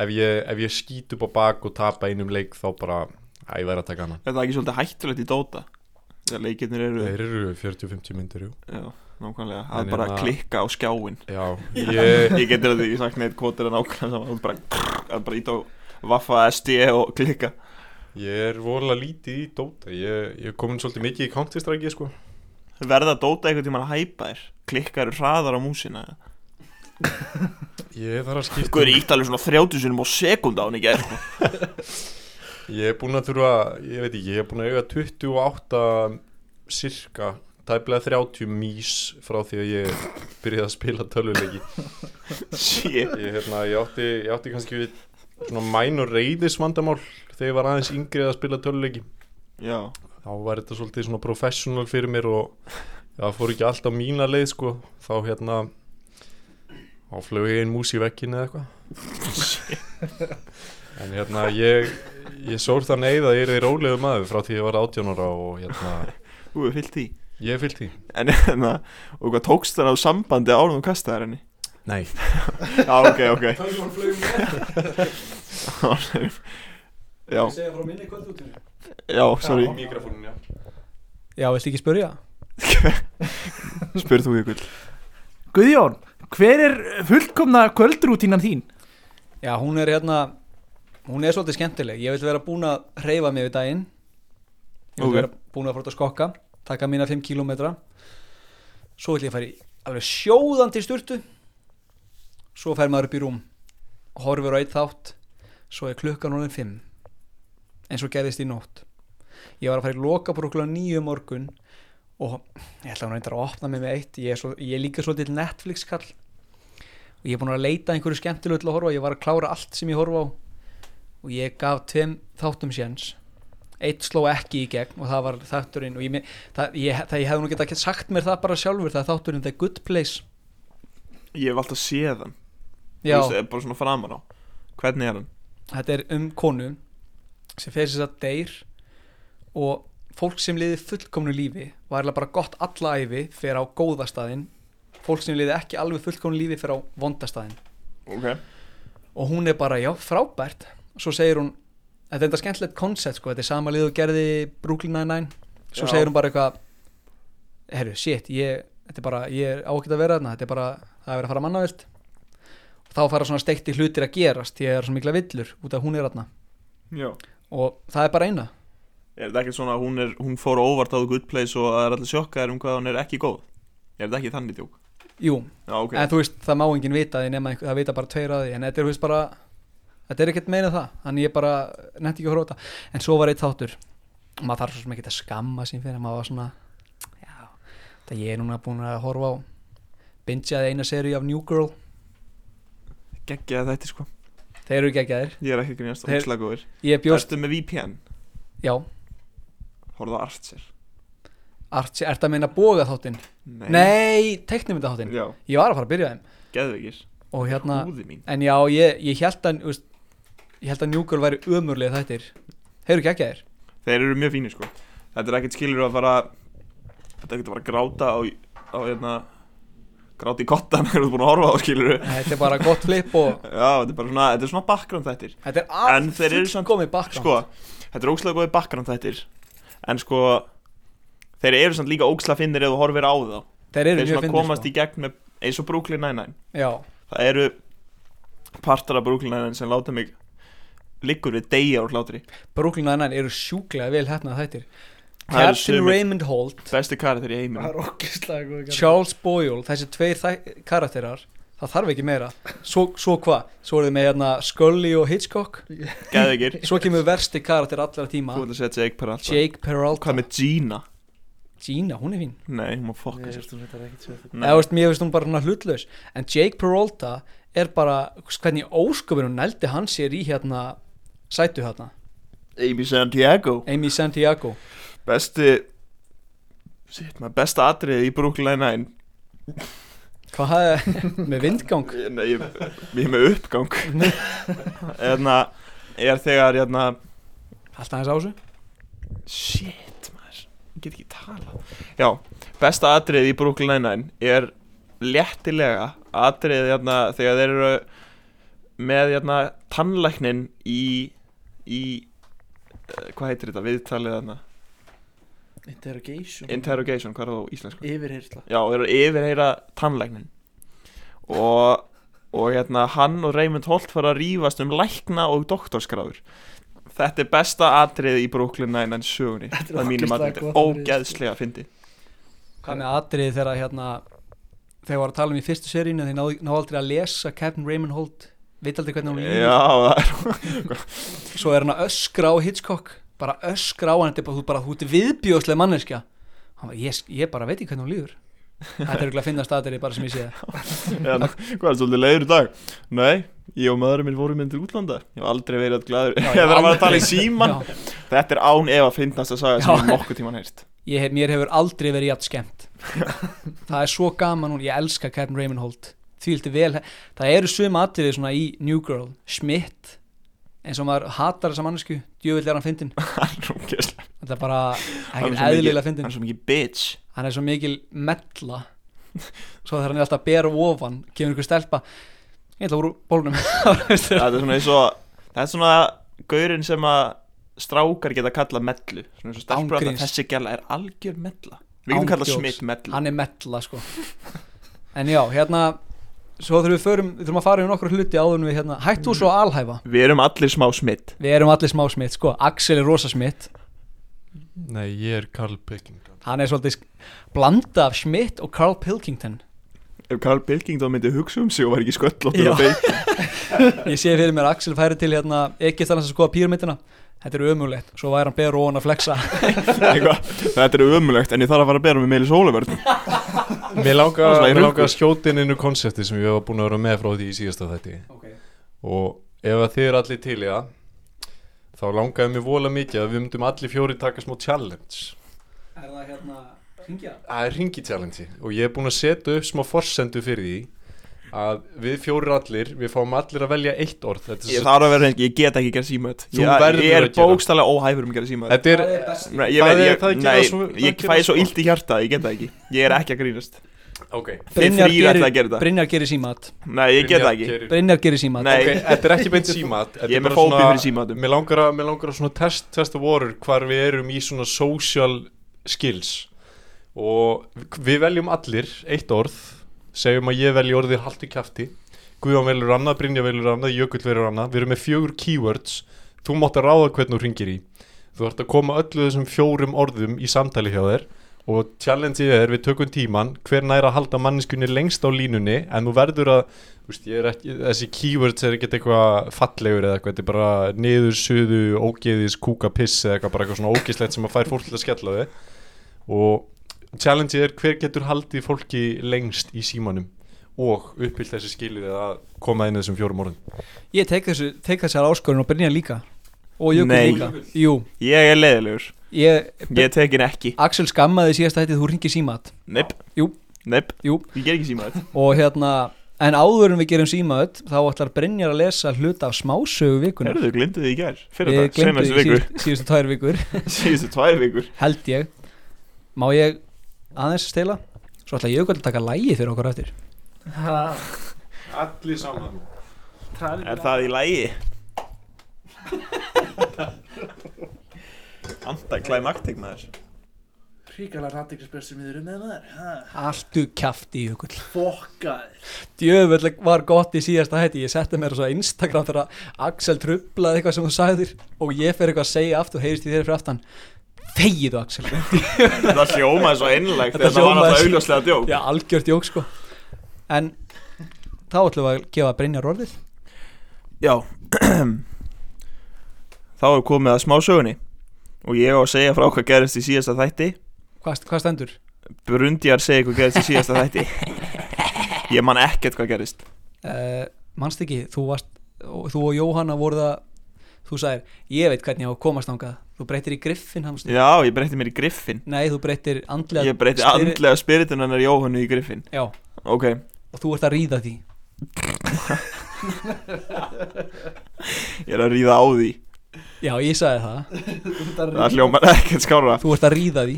[SPEAKER 5] Ef ég, ef ég skýt upp á bak og tapa einum leik þá bara, að ég verð að taka hana
[SPEAKER 2] Er það ekki svolítið hættulegt í Dota? Þegar leikirnir eru...
[SPEAKER 5] Þeir eru 40-50 myndir, jú
[SPEAKER 2] Já, nákvæmlega. Það er
[SPEAKER 5] En
[SPEAKER 2] bara
[SPEAKER 5] hérna-
[SPEAKER 2] að klikka á skjáin.
[SPEAKER 5] Já,
[SPEAKER 2] Ég,
[SPEAKER 5] ég,
[SPEAKER 2] ég getur að því, ég sagt neitt kvotir en ákvæmlega saman. Það er bara, það er bara ít á vaffa SD og klikka.
[SPEAKER 5] ég er vorulega lítið í Dota Ég, ég er komin svolítið mikið í Counter-Strike, sko
[SPEAKER 2] Verða Dota einhvern tímann að hæpa þér? Klikka eru hraðar á músina?
[SPEAKER 5] Ég þarf að skipta um-
[SPEAKER 2] Guður ítt alveg svona 30 sinum á sekund á hann sko. ekki er
[SPEAKER 5] Ég er búinn að þurfa, ég veit ekki, ég er búinn að eiga 28 cirka, tæplega 30 mís frá því að ég byrjaði að spila tölvuleiki.
[SPEAKER 2] Shit.
[SPEAKER 5] Ég, hérna, ég, átti, ég átti kannski við svona mæn og reyðis vandamál þegar ég var aðeins yngri að spila tölvuleiki.
[SPEAKER 2] Já.
[SPEAKER 5] Þá var þetta svolítið svona professional fyrir mér og það fór ekki allt á mína leið sko, þá hérna, þá flög ég einn mús í vekkinu eða eitthvað. En hérna, ég, ég sór það neyð að ég er í rólegu maður frá því ég var 18 ára og hérna,
[SPEAKER 2] Þú hefur fyllt því
[SPEAKER 5] ég er fyllt því.
[SPEAKER 2] En hérna, og hvað tókst þar á sambandi árum og kastaði henni?
[SPEAKER 5] Nei.
[SPEAKER 2] Já, ok, ok
[SPEAKER 7] Tölvan flaug með.
[SPEAKER 2] Já,
[SPEAKER 7] Ég segja frá minni kvöldútinu.
[SPEAKER 2] já, sorry
[SPEAKER 5] mikrofónin, já.
[SPEAKER 7] Já, viltu ekki spyrja?
[SPEAKER 2] Spyr þú ykkur
[SPEAKER 6] Guðjón, hver er fullkomna kvöldrútínan þín?
[SPEAKER 7] Já, hún er hérna, hún er svolítið skemmtileg. Ég vil vera búin að reyfa mig við daginn. Ég vil
[SPEAKER 2] Ok.
[SPEAKER 7] vera búin að fór út að skokka, taka mína 5 km. Svo vil ég fara í alveg sjóðandi sturtu. Svo fer maður upp í rúm, horfur á eitt þátt. Svo er klukkan orðin 5. En svo gerðist í nótt. Ég var að fara í loka brúkla nýju um morgun og ég ætla hún reyndar að opna mig með eitt. Ég er, svo, ég er líka svolítið Netflix-kall og ég er búin að leita að einhverju skemmtilegu til að horfa á, ég var að klára allt sem ég horfa á og ég gaf tveim þáttum séns eitt sló ekki í gegn og það var þátturinn og ég, me- það, ég, það, ég hefði nú geta sagt mér það bara sjálfur það er þátturinn, það er good place
[SPEAKER 2] Ég hef alltaf séð hann
[SPEAKER 7] Já.
[SPEAKER 2] Þú veist, er bara svona framan á Hvernig er hann?
[SPEAKER 7] þetta er um konu sem fer þess að deyr og fólk sem liði fullkomnu lífi var eiginlega bara gott alla æfi fer á góða staðinn fólk sem liði ekki alveg fullkomnu lífi fer á vonda staðinn
[SPEAKER 2] Ok
[SPEAKER 7] og hún er bara, já, frábært svo segir hún, þetta er enda skemmtilegt koncept sko, þetta er sama lið og gerði Brooklyn Nine-Nine, svo
[SPEAKER 4] Já.
[SPEAKER 7] segir hún bara eitthvað herru, shit, ég þetta er bara, ég er á ekki að vera þarna þetta er bara, það er verið að fara mannavilt og þá fara svona steikti hlutir að gerast því að það er svona mikla villur út af að hún er þarna
[SPEAKER 2] Já
[SPEAKER 7] og það er bara eina
[SPEAKER 2] Er þetta ekki svona að hún, er- hún fór óvart á The Good Place og það er allir sjokkaðir um hvað hún er ekki góð? Er þetta ekki þannig tjók?
[SPEAKER 7] Jú,
[SPEAKER 2] Já, ok.
[SPEAKER 7] en þú veist, það má enginn vita því nema einhver, það vita bara tveir að því, en þetta er, þú veist, bara þetta er ekkert meina það, þannig ég bara nefndi ekki að horfa á þetta, en svo var eitt þáttur og maður þarf svo sem ekki að skamma sín fyrir maður var svona, já þetta ég er núna búin að horfa á bingjaði eina seri af New Girl
[SPEAKER 2] Geggjaði þetta sko
[SPEAKER 7] Þeir eru geggjaðir
[SPEAKER 2] Ég er ekki að grínast,
[SPEAKER 7] Þeir-
[SPEAKER 2] ógeðslega góðir.
[SPEAKER 7] Ég bjóst
[SPEAKER 2] Ertu með VPN?
[SPEAKER 7] Já,
[SPEAKER 2] Horfðu á Archer
[SPEAKER 7] Archie, ertu að meina boga þáttinn?
[SPEAKER 2] Nei.
[SPEAKER 7] Nei teiknumynda þáttinn
[SPEAKER 2] Já.
[SPEAKER 7] Ég var að fara að byrja þeim
[SPEAKER 2] Geðveikir
[SPEAKER 7] Og hérna,
[SPEAKER 2] Húðin mín.
[SPEAKER 7] en já, ég, ég held að þú veist, ég held að New Girl væri ömurlega þættir Þeir eru geggjaðir
[SPEAKER 2] Þeir eru mjög fínir sko Þetta er ekkert skilur að fara Þetta er ekkert að fara að gráta á, á hérna Gráta í kottan þegar þú ert búin að horfa á skilur
[SPEAKER 7] Þetta er bara gott flip og
[SPEAKER 2] Já, þetta er bara svona, þetta er svona bakgrunn þættir
[SPEAKER 7] Þetta er allt
[SPEAKER 2] En þeir eru samt
[SPEAKER 7] fullkomið bakgrunn.
[SPEAKER 2] Sko, þetta er ógslag góði bakgrunn þættir En sko Þeir eru samt líka ógslag finnir ef þú horfir á þá
[SPEAKER 7] Þeir eru mjög
[SPEAKER 2] sko, svona
[SPEAKER 7] fyndnir,
[SPEAKER 2] komast
[SPEAKER 7] sko.
[SPEAKER 2] í gegn með eins og Brooklyn Nine-Nine
[SPEAKER 7] Já.
[SPEAKER 2] Það eru partar af Brooklyn Nine-Nine sem láta mig Liggur við deyja úr hlátri
[SPEAKER 7] Brooklyn Nine-Nine eru sjúklega vel hérna þættir
[SPEAKER 2] Það eru
[SPEAKER 7] Captain
[SPEAKER 2] sumir
[SPEAKER 7] Raymond Holt
[SPEAKER 2] Besti karakter í heiminum
[SPEAKER 6] er okkislega góð
[SPEAKER 7] Charles Boyle, þessi tveir þæ- karakterar það þarf ekki meira svo, svo hvað, svo eru þið með hérna Scully og Hitchcock
[SPEAKER 2] Geðveikir. Sko,
[SPEAKER 7] svo kemur versti karakter allra tíma
[SPEAKER 2] Þú ætla að segja Jake Peralta
[SPEAKER 7] Jake Peralta
[SPEAKER 2] Hvað með Gina?
[SPEAKER 7] Gina, hún er fín
[SPEAKER 2] Nei, hún má fokka
[SPEAKER 6] Nei,
[SPEAKER 2] sér
[SPEAKER 6] þú veit það ekkert sér þetta.
[SPEAKER 7] Nei. Eða, veist, mér finnst hún bara svona hlutlaus en Jake Peralta er bara hvernig ósköpun hún nældi hann sér í hérna sætu hérna
[SPEAKER 2] Amy Santiago
[SPEAKER 7] Amy Santiago
[SPEAKER 2] Besti Sitt maður, besta atriði í Brooklyn Nine
[SPEAKER 7] Hvað, með vindgang?
[SPEAKER 2] Nei, ég, ég er með uppgang Þannig að er þegar hérna
[SPEAKER 7] Alltaf hans ásu
[SPEAKER 2] Shit maður, ég get ekki tala Já, besta atriðið í Brooklyn Nine-Nine er léttilega atriðið hérna þegar þeir eru með hérna tannlæknin í, í eh, hvað heitir þetta, viðtalið hérna
[SPEAKER 6] Interrogation
[SPEAKER 2] Interrogation, hvað er það á íslensku?
[SPEAKER 6] Yfirheyrsla.
[SPEAKER 2] Já, þeir eru að yfirheyra tannlæknin og, og hérna, hann og Raymond Holt fara að rífast um lækna og doktorskráður Þetta er besta atriðið í Brooklyn Nine-Nine sögunni
[SPEAKER 7] er
[SPEAKER 2] Það mínum að þetta er
[SPEAKER 7] ógeðslega gott atriði, sko.
[SPEAKER 2] ógeðslega fyndi
[SPEAKER 7] Hvað með atriði þegar að, hérna þegar var að tala um í fyrstu seríinu þeir náðu ná aldrei að lesa Captain Raymond Holt veit aldrei hvernig hún
[SPEAKER 2] Já, það er
[SPEAKER 7] Svo er hann að öskra á Hitchcock bara öskra á hann, þetta er bara, þú, bara, þú ert viðbjóðslega manneskja hann var, ég, ég bara veit ekki hvernig hún líður Þetta er ekki að finna staðir bara sem ég sé það.
[SPEAKER 2] hérna, Hvað er svolítið leiður í dag? Nei, ég og maðurinn minn vorum inn til útlanda Ég hef aldrei verið að glæður
[SPEAKER 7] Já,
[SPEAKER 2] Ég
[SPEAKER 7] ég
[SPEAKER 2] þarf að
[SPEAKER 7] aldrei-
[SPEAKER 2] tala í síman
[SPEAKER 7] Já.
[SPEAKER 2] Þetta er án ef að fyndast að saga sem
[SPEAKER 7] Já.
[SPEAKER 2] ég hef nokkuð tíman heyrt
[SPEAKER 7] ég hef, mér hefur aldrei verið jætt skemmt það er svo gaman hún, ég elska Captain Raymond Holt því hildi vel, það eru sum atriði svona í New Girl, Schmidt eins og maður hatar þessa mannesku djövill er hann fyndin þetta er bara
[SPEAKER 2] Hann er svo
[SPEAKER 7] ekkert
[SPEAKER 2] mikið-
[SPEAKER 7] eðlilega
[SPEAKER 2] hann
[SPEAKER 7] fyndin
[SPEAKER 2] er svo mikið bitch
[SPEAKER 7] hann er svo mikil mella svo þegar hann er alltaf að bera ofan kemur ykkur stelpa ég ætla úr bólnum
[SPEAKER 2] Þetta er svona eins og Þetta er svona gaurinn sem að strákar geta kallað mellu Svona eins og stelpur
[SPEAKER 7] Ángríns.
[SPEAKER 2] alltaf þessi gæla er algjör mella Við getum kallað
[SPEAKER 7] Ángjóks.
[SPEAKER 2] smitt mellu
[SPEAKER 7] hann er mella sko en já, hérna svo þurfum við, förum, við þurfum að fara í nokkru hluti áður en við hérna, hættu svo að alhæfa
[SPEAKER 2] Við erum allir smá smitt
[SPEAKER 7] við erum allir smá smitt, sko, Axel er rosa smitt
[SPEAKER 5] Nei, ég er Carl Picking
[SPEAKER 7] hann er svolítið sk- blanda af smitt og Carl Pilkington
[SPEAKER 2] Ef Carl Pilkington myndi hugsa um sig og var ekki sköllóttur
[SPEAKER 7] Já.
[SPEAKER 2] og feik
[SPEAKER 7] ég sé fyrir mér að Axel færi til hérna, ekki þannig að skoða píramidina þetta er ömulegt, svo væri hann beður og hann að flexa
[SPEAKER 2] Eitthvað, Þetta er ömulegt en ég þarf að fara að bera með Melis Ólaförn
[SPEAKER 5] Mér langar
[SPEAKER 2] Svona í
[SPEAKER 5] mér
[SPEAKER 2] rungu.
[SPEAKER 5] langar að skjóta inn innu konsepti sem ég hef búin að vera með frá því í síðasta þætti og ef að þið er allir til í það þá langaði mér vola mikið að við myndum allir fjóri taka smá challenge
[SPEAKER 7] er það hérna, ringja?
[SPEAKER 5] Það er ringi challenge og ég hef búin að setja upp smá forsendu fyrir því að við fjóri allir, við fáum allir að velja eitt orð Þetta er
[SPEAKER 2] Ég
[SPEAKER 5] svo-
[SPEAKER 2] þarf að vera reyngi, ég get ekki gera símaðut
[SPEAKER 5] Þú
[SPEAKER 2] Ég,
[SPEAKER 5] verður
[SPEAKER 2] ég er
[SPEAKER 5] að gera.
[SPEAKER 2] bókstælega óhæfur um að gera símaðut
[SPEAKER 5] Þetta er- Það er best.
[SPEAKER 2] Nei, ég,
[SPEAKER 5] Það
[SPEAKER 2] veit-
[SPEAKER 5] er-
[SPEAKER 2] ég,
[SPEAKER 5] það gera
[SPEAKER 2] nei,
[SPEAKER 5] svo- það
[SPEAKER 2] ég
[SPEAKER 5] gera
[SPEAKER 2] fæ svo
[SPEAKER 5] svo.
[SPEAKER 2] illt í hjarta, ég get það ekki Ég er ekki að grínast
[SPEAKER 5] Ok.
[SPEAKER 2] Þið
[SPEAKER 7] Brynjar
[SPEAKER 2] þrýr ætla að
[SPEAKER 7] gerir,
[SPEAKER 2] gera þetta
[SPEAKER 7] Brynjar gerir símat
[SPEAKER 2] Nei, ég get það ekki
[SPEAKER 7] Brynjar gerir símat
[SPEAKER 2] Nei.
[SPEAKER 5] Ok, þetta er ekki beint símat
[SPEAKER 2] Ég er með fóbi fyrir símatum.
[SPEAKER 5] Mér langar að, mér langar að svona test, testa vorur hvar við erum í svona social skills og við veljum allir eitt orð segjum að ég velji orðið haltu kjafti Guðjón velur annað, Brynja velur annað, Jökull velur annað við erum með fjögur keywords þú mátt að ráða hvernig þú ringir í þú ert að koma öllu þessum fjórum orðum í samtali hjá þér og challengeið er við tökum tíman hver næra að halda manneskunni lengst á línunni en þú verður að þú veist, ég er ekki, þessi keywords er ekkert eitthvað fallegur eða eitthvað, þetta er bara niður, suðu, ógeðis, kúka, piss eða eitthvað bara eitthvað svona ógeðslegt sem að fær fólk til að skella á þig og challengeið er hver getur haldið fólki lengst í símanum og uppfyllt þessi skilur eða koma inn þessum fjórum orðum
[SPEAKER 7] Ég tek, þessu, tek þessar áskorun og Brynjar líka Og Jökull
[SPEAKER 2] Nei.
[SPEAKER 7] líka Jú
[SPEAKER 2] Ég er leiðilegur
[SPEAKER 7] Ég,
[SPEAKER 2] Ég tekin ekki
[SPEAKER 7] Axel skammaði síðast að þetta þú ringir símat
[SPEAKER 2] Neip
[SPEAKER 7] Jú
[SPEAKER 2] Neip
[SPEAKER 7] Jú
[SPEAKER 2] Ég ger ekki símaðut
[SPEAKER 7] Og hérna En áður en við gerum símaðut Þá ætlar Brynjar að lesa hluta af smásögu vikunar
[SPEAKER 2] Herðu, glindu því í gær Fyrir
[SPEAKER 7] Við
[SPEAKER 2] dag,
[SPEAKER 7] glemdu
[SPEAKER 2] senastu viku
[SPEAKER 7] síðust, síðustu tvær vikur
[SPEAKER 2] Síðustu tvær vikur
[SPEAKER 7] Held ég Má ég aðeins stela Svo ætla Jökull að taka lægi fyrir okkur eftir
[SPEAKER 5] Allir saman
[SPEAKER 2] Er það í lægi? Antaklæmaktik maður
[SPEAKER 6] Ríkala randiklisbjörn sem við erum með maður
[SPEAKER 7] Alltu kjafti Jökull
[SPEAKER 6] Fokkaður
[SPEAKER 7] djöfull var gott í síðasta hætti ég setti mér svo á Instagram þegar Axel trublaði eitthvað sem þú sagðir og ég fer eitthvað að segja aftur og heyrist í þér fyrir aftan þegið þú Axel
[SPEAKER 2] Þetta hljómaði svo einlægt
[SPEAKER 7] Þetta
[SPEAKER 2] Þetta var
[SPEAKER 7] hljómaði
[SPEAKER 2] alltaf
[SPEAKER 7] svo-
[SPEAKER 2] augljóslega djók
[SPEAKER 7] já, algjört jók sko en þá ætlum við að gefa Brynjar orðið
[SPEAKER 2] Já Þá er komið að smásögunni Og ég á að segja frá hvað gerist í síðasta þætti
[SPEAKER 7] hvað, hvað stendur?
[SPEAKER 2] Brundjar segja hvað gerist í síðasta þætti Ég man ekkert hvað gerist
[SPEAKER 7] Uh, manst ekki, þú, varst, og- þú og Jóhanna voru það þú sagðir, ég veit hvernig ég á að komast ángað þú breytir í griffin hans
[SPEAKER 2] Já, ég breytti mér í griffin
[SPEAKER 7] nei, þú breytir andlega
[SPEAKER 2] Ég breyti
[SPEAKER 7] styri-
[SPEAKER 2] andlega spiritunarnar Jóhannu í griffin
[SPEAKER 7] Já.
[SPEAKER 2] Ok,
[SPEAKER 7] og þú ert að ríða því
[SPEAKER 2] Ég er að ríða á því
[SPEAKER 7] Já, ég sagði það
[SPEAKER 2] Þú ert að ríða. Það hljómar ekkert skárra.
[SPEAKER 7] Þú ert að ríða því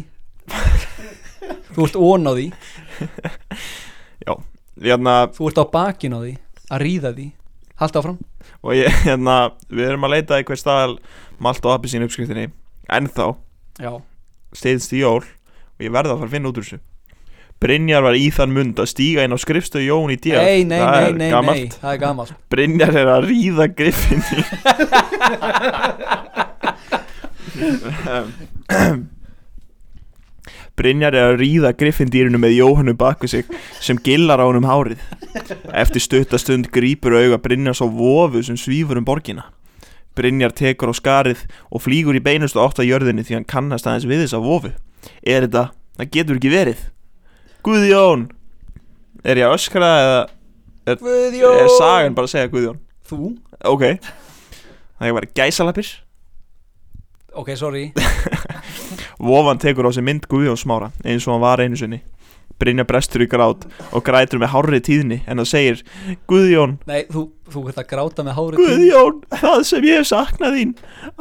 [SPEAKER 7] Þú ert ón á því
[SPEAKER 2] Já, hérna
[SPEAKER 7] Þú ert á bakinu á því, að ríða því Haltu áfram
[SPEAKER 2] og ég, hérna, við erum að leita í hver staðal malt og appi sín uppskriftinni ennþá
[SPEAKER 7] Já.
[SPEAKER 2] steyðst í jól og ég verða að fara að finna út úr þessu Brynjar var í þann mund að stíga inn á skrifstu Jón í díð
[SPEAKER 7] Nei, nei, nei, nei, nei, það er gamalt.
[SPEAKER 2] Brynjar er að ríða griffinni Brynjar er að ríða griffindýrinu með Jóhannu baku sig sem gillar á honum hárið. Eftir stuttastund grýpur auga Brynjar svo vofu sem svífur um borgina. Brynjar tekur á skarið og flýgur í beinustu átt að jörðinni því hann kannast aðeins við þessa vofu. Er þetta? Það getur ekki verið. Guðjón! Er ég að öskra eða... Er,
[SPEAKER 7] Guðjón!
[SPEAKER 2] Er sagan bara að segja Guðjón?
[SPEAKER 7] Þú?
[SPEAKER 2] Ok. Það er bara gæsalapir.
[SPEAKER 7] Ok, sorry
[SPEAKER 2] Vofan tekur á sig mynd Guðjón Smára eins og hann var einu sinni Brynja brestur í grát og grætur með hárri tíðni en það segir Guðjón,
[SPEAKER 7] Nei, þú, þú ert að gráta með hárið
[SPEAKER 2] Guðjón, það sem ég hef saknað þín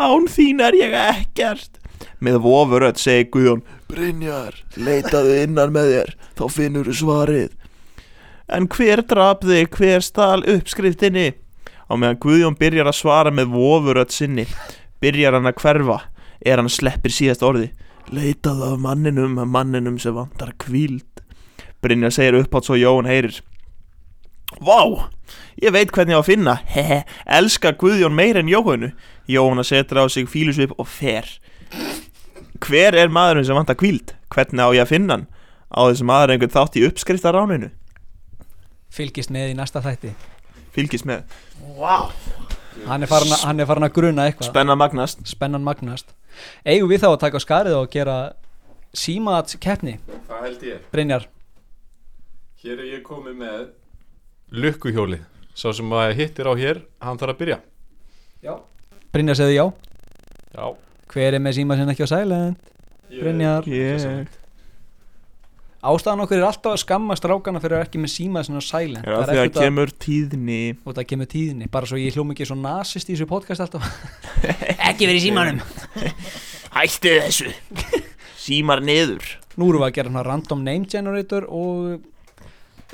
[SPEAKER 2] Án þín er ég ekkert með vofurödd segir Guðjón Brynjar, leitaðu innan með þér þá finnur þú svarið En hver draf þig, hver stal uppskriftinni? Á meðan Guðjón byrjar að svara með vofurödd sinni Byrjar hann að hverfa Er hann sleppir síðast orði Leitaðu af manninum, af manninum sem vantar kvíld Brynjar segir upphátt svo Jón heyrir Vá, ég veit hvernig ég á að finna Hehe, elska Guðjón meir en Jóhannu Jóhanna setur á sig fílusvip og fer Hver er maðurinn sem vantar kvíld? Hvernig á ég að finna hann? Á þessi maður einhvern þátt í uppskriftaráninu
[SPEAKER 7] Fylgist með í næsta þætti
[SPEAKER 2] Fylgist með
[SPEAKER 7] wow. hann, er farin að, hann er farin að gruna eitthvað
[SPEAKER 2] Spennan magnast
[SPEAKER 7] Spennan magnast Eigum við þá að taka á skarið og gera símat keppni
[SPEAKER 5] Það held ég.
[SPEAKER 7] Brynjar
[SPEAKER 5] Hér er ég komið með Lukkuhjóli Sá sem að hittir á hér, hann þarf að byrja
[SPEAKER 7] Brynjar segði já
[SPEAKER 5] Já
[SPEAKER 7] Hver er með síma sinna ekki á silent?
[SPEAKER 5] Ég-
[SPEAKER 7] Brynjar
[SPEAKER 5] ég- Silent.
[SPEAKER 7] Ástæðan okkur er alltaf að skamma strákana fyrir að vera ekki með síma sinna á silent
[SPEAKER 2] Er það því að kemur tíðni
[SPEAKER 7] Og það kemur tíðinni Bara svo ég hljóma ekki svo nasist í þessu podcast alltaf Ekki verið í símanum
[SPEAKER 2] Hættu þessu Símar niður
[SPEAKER 7] Nú erum við að gera svona random name generator og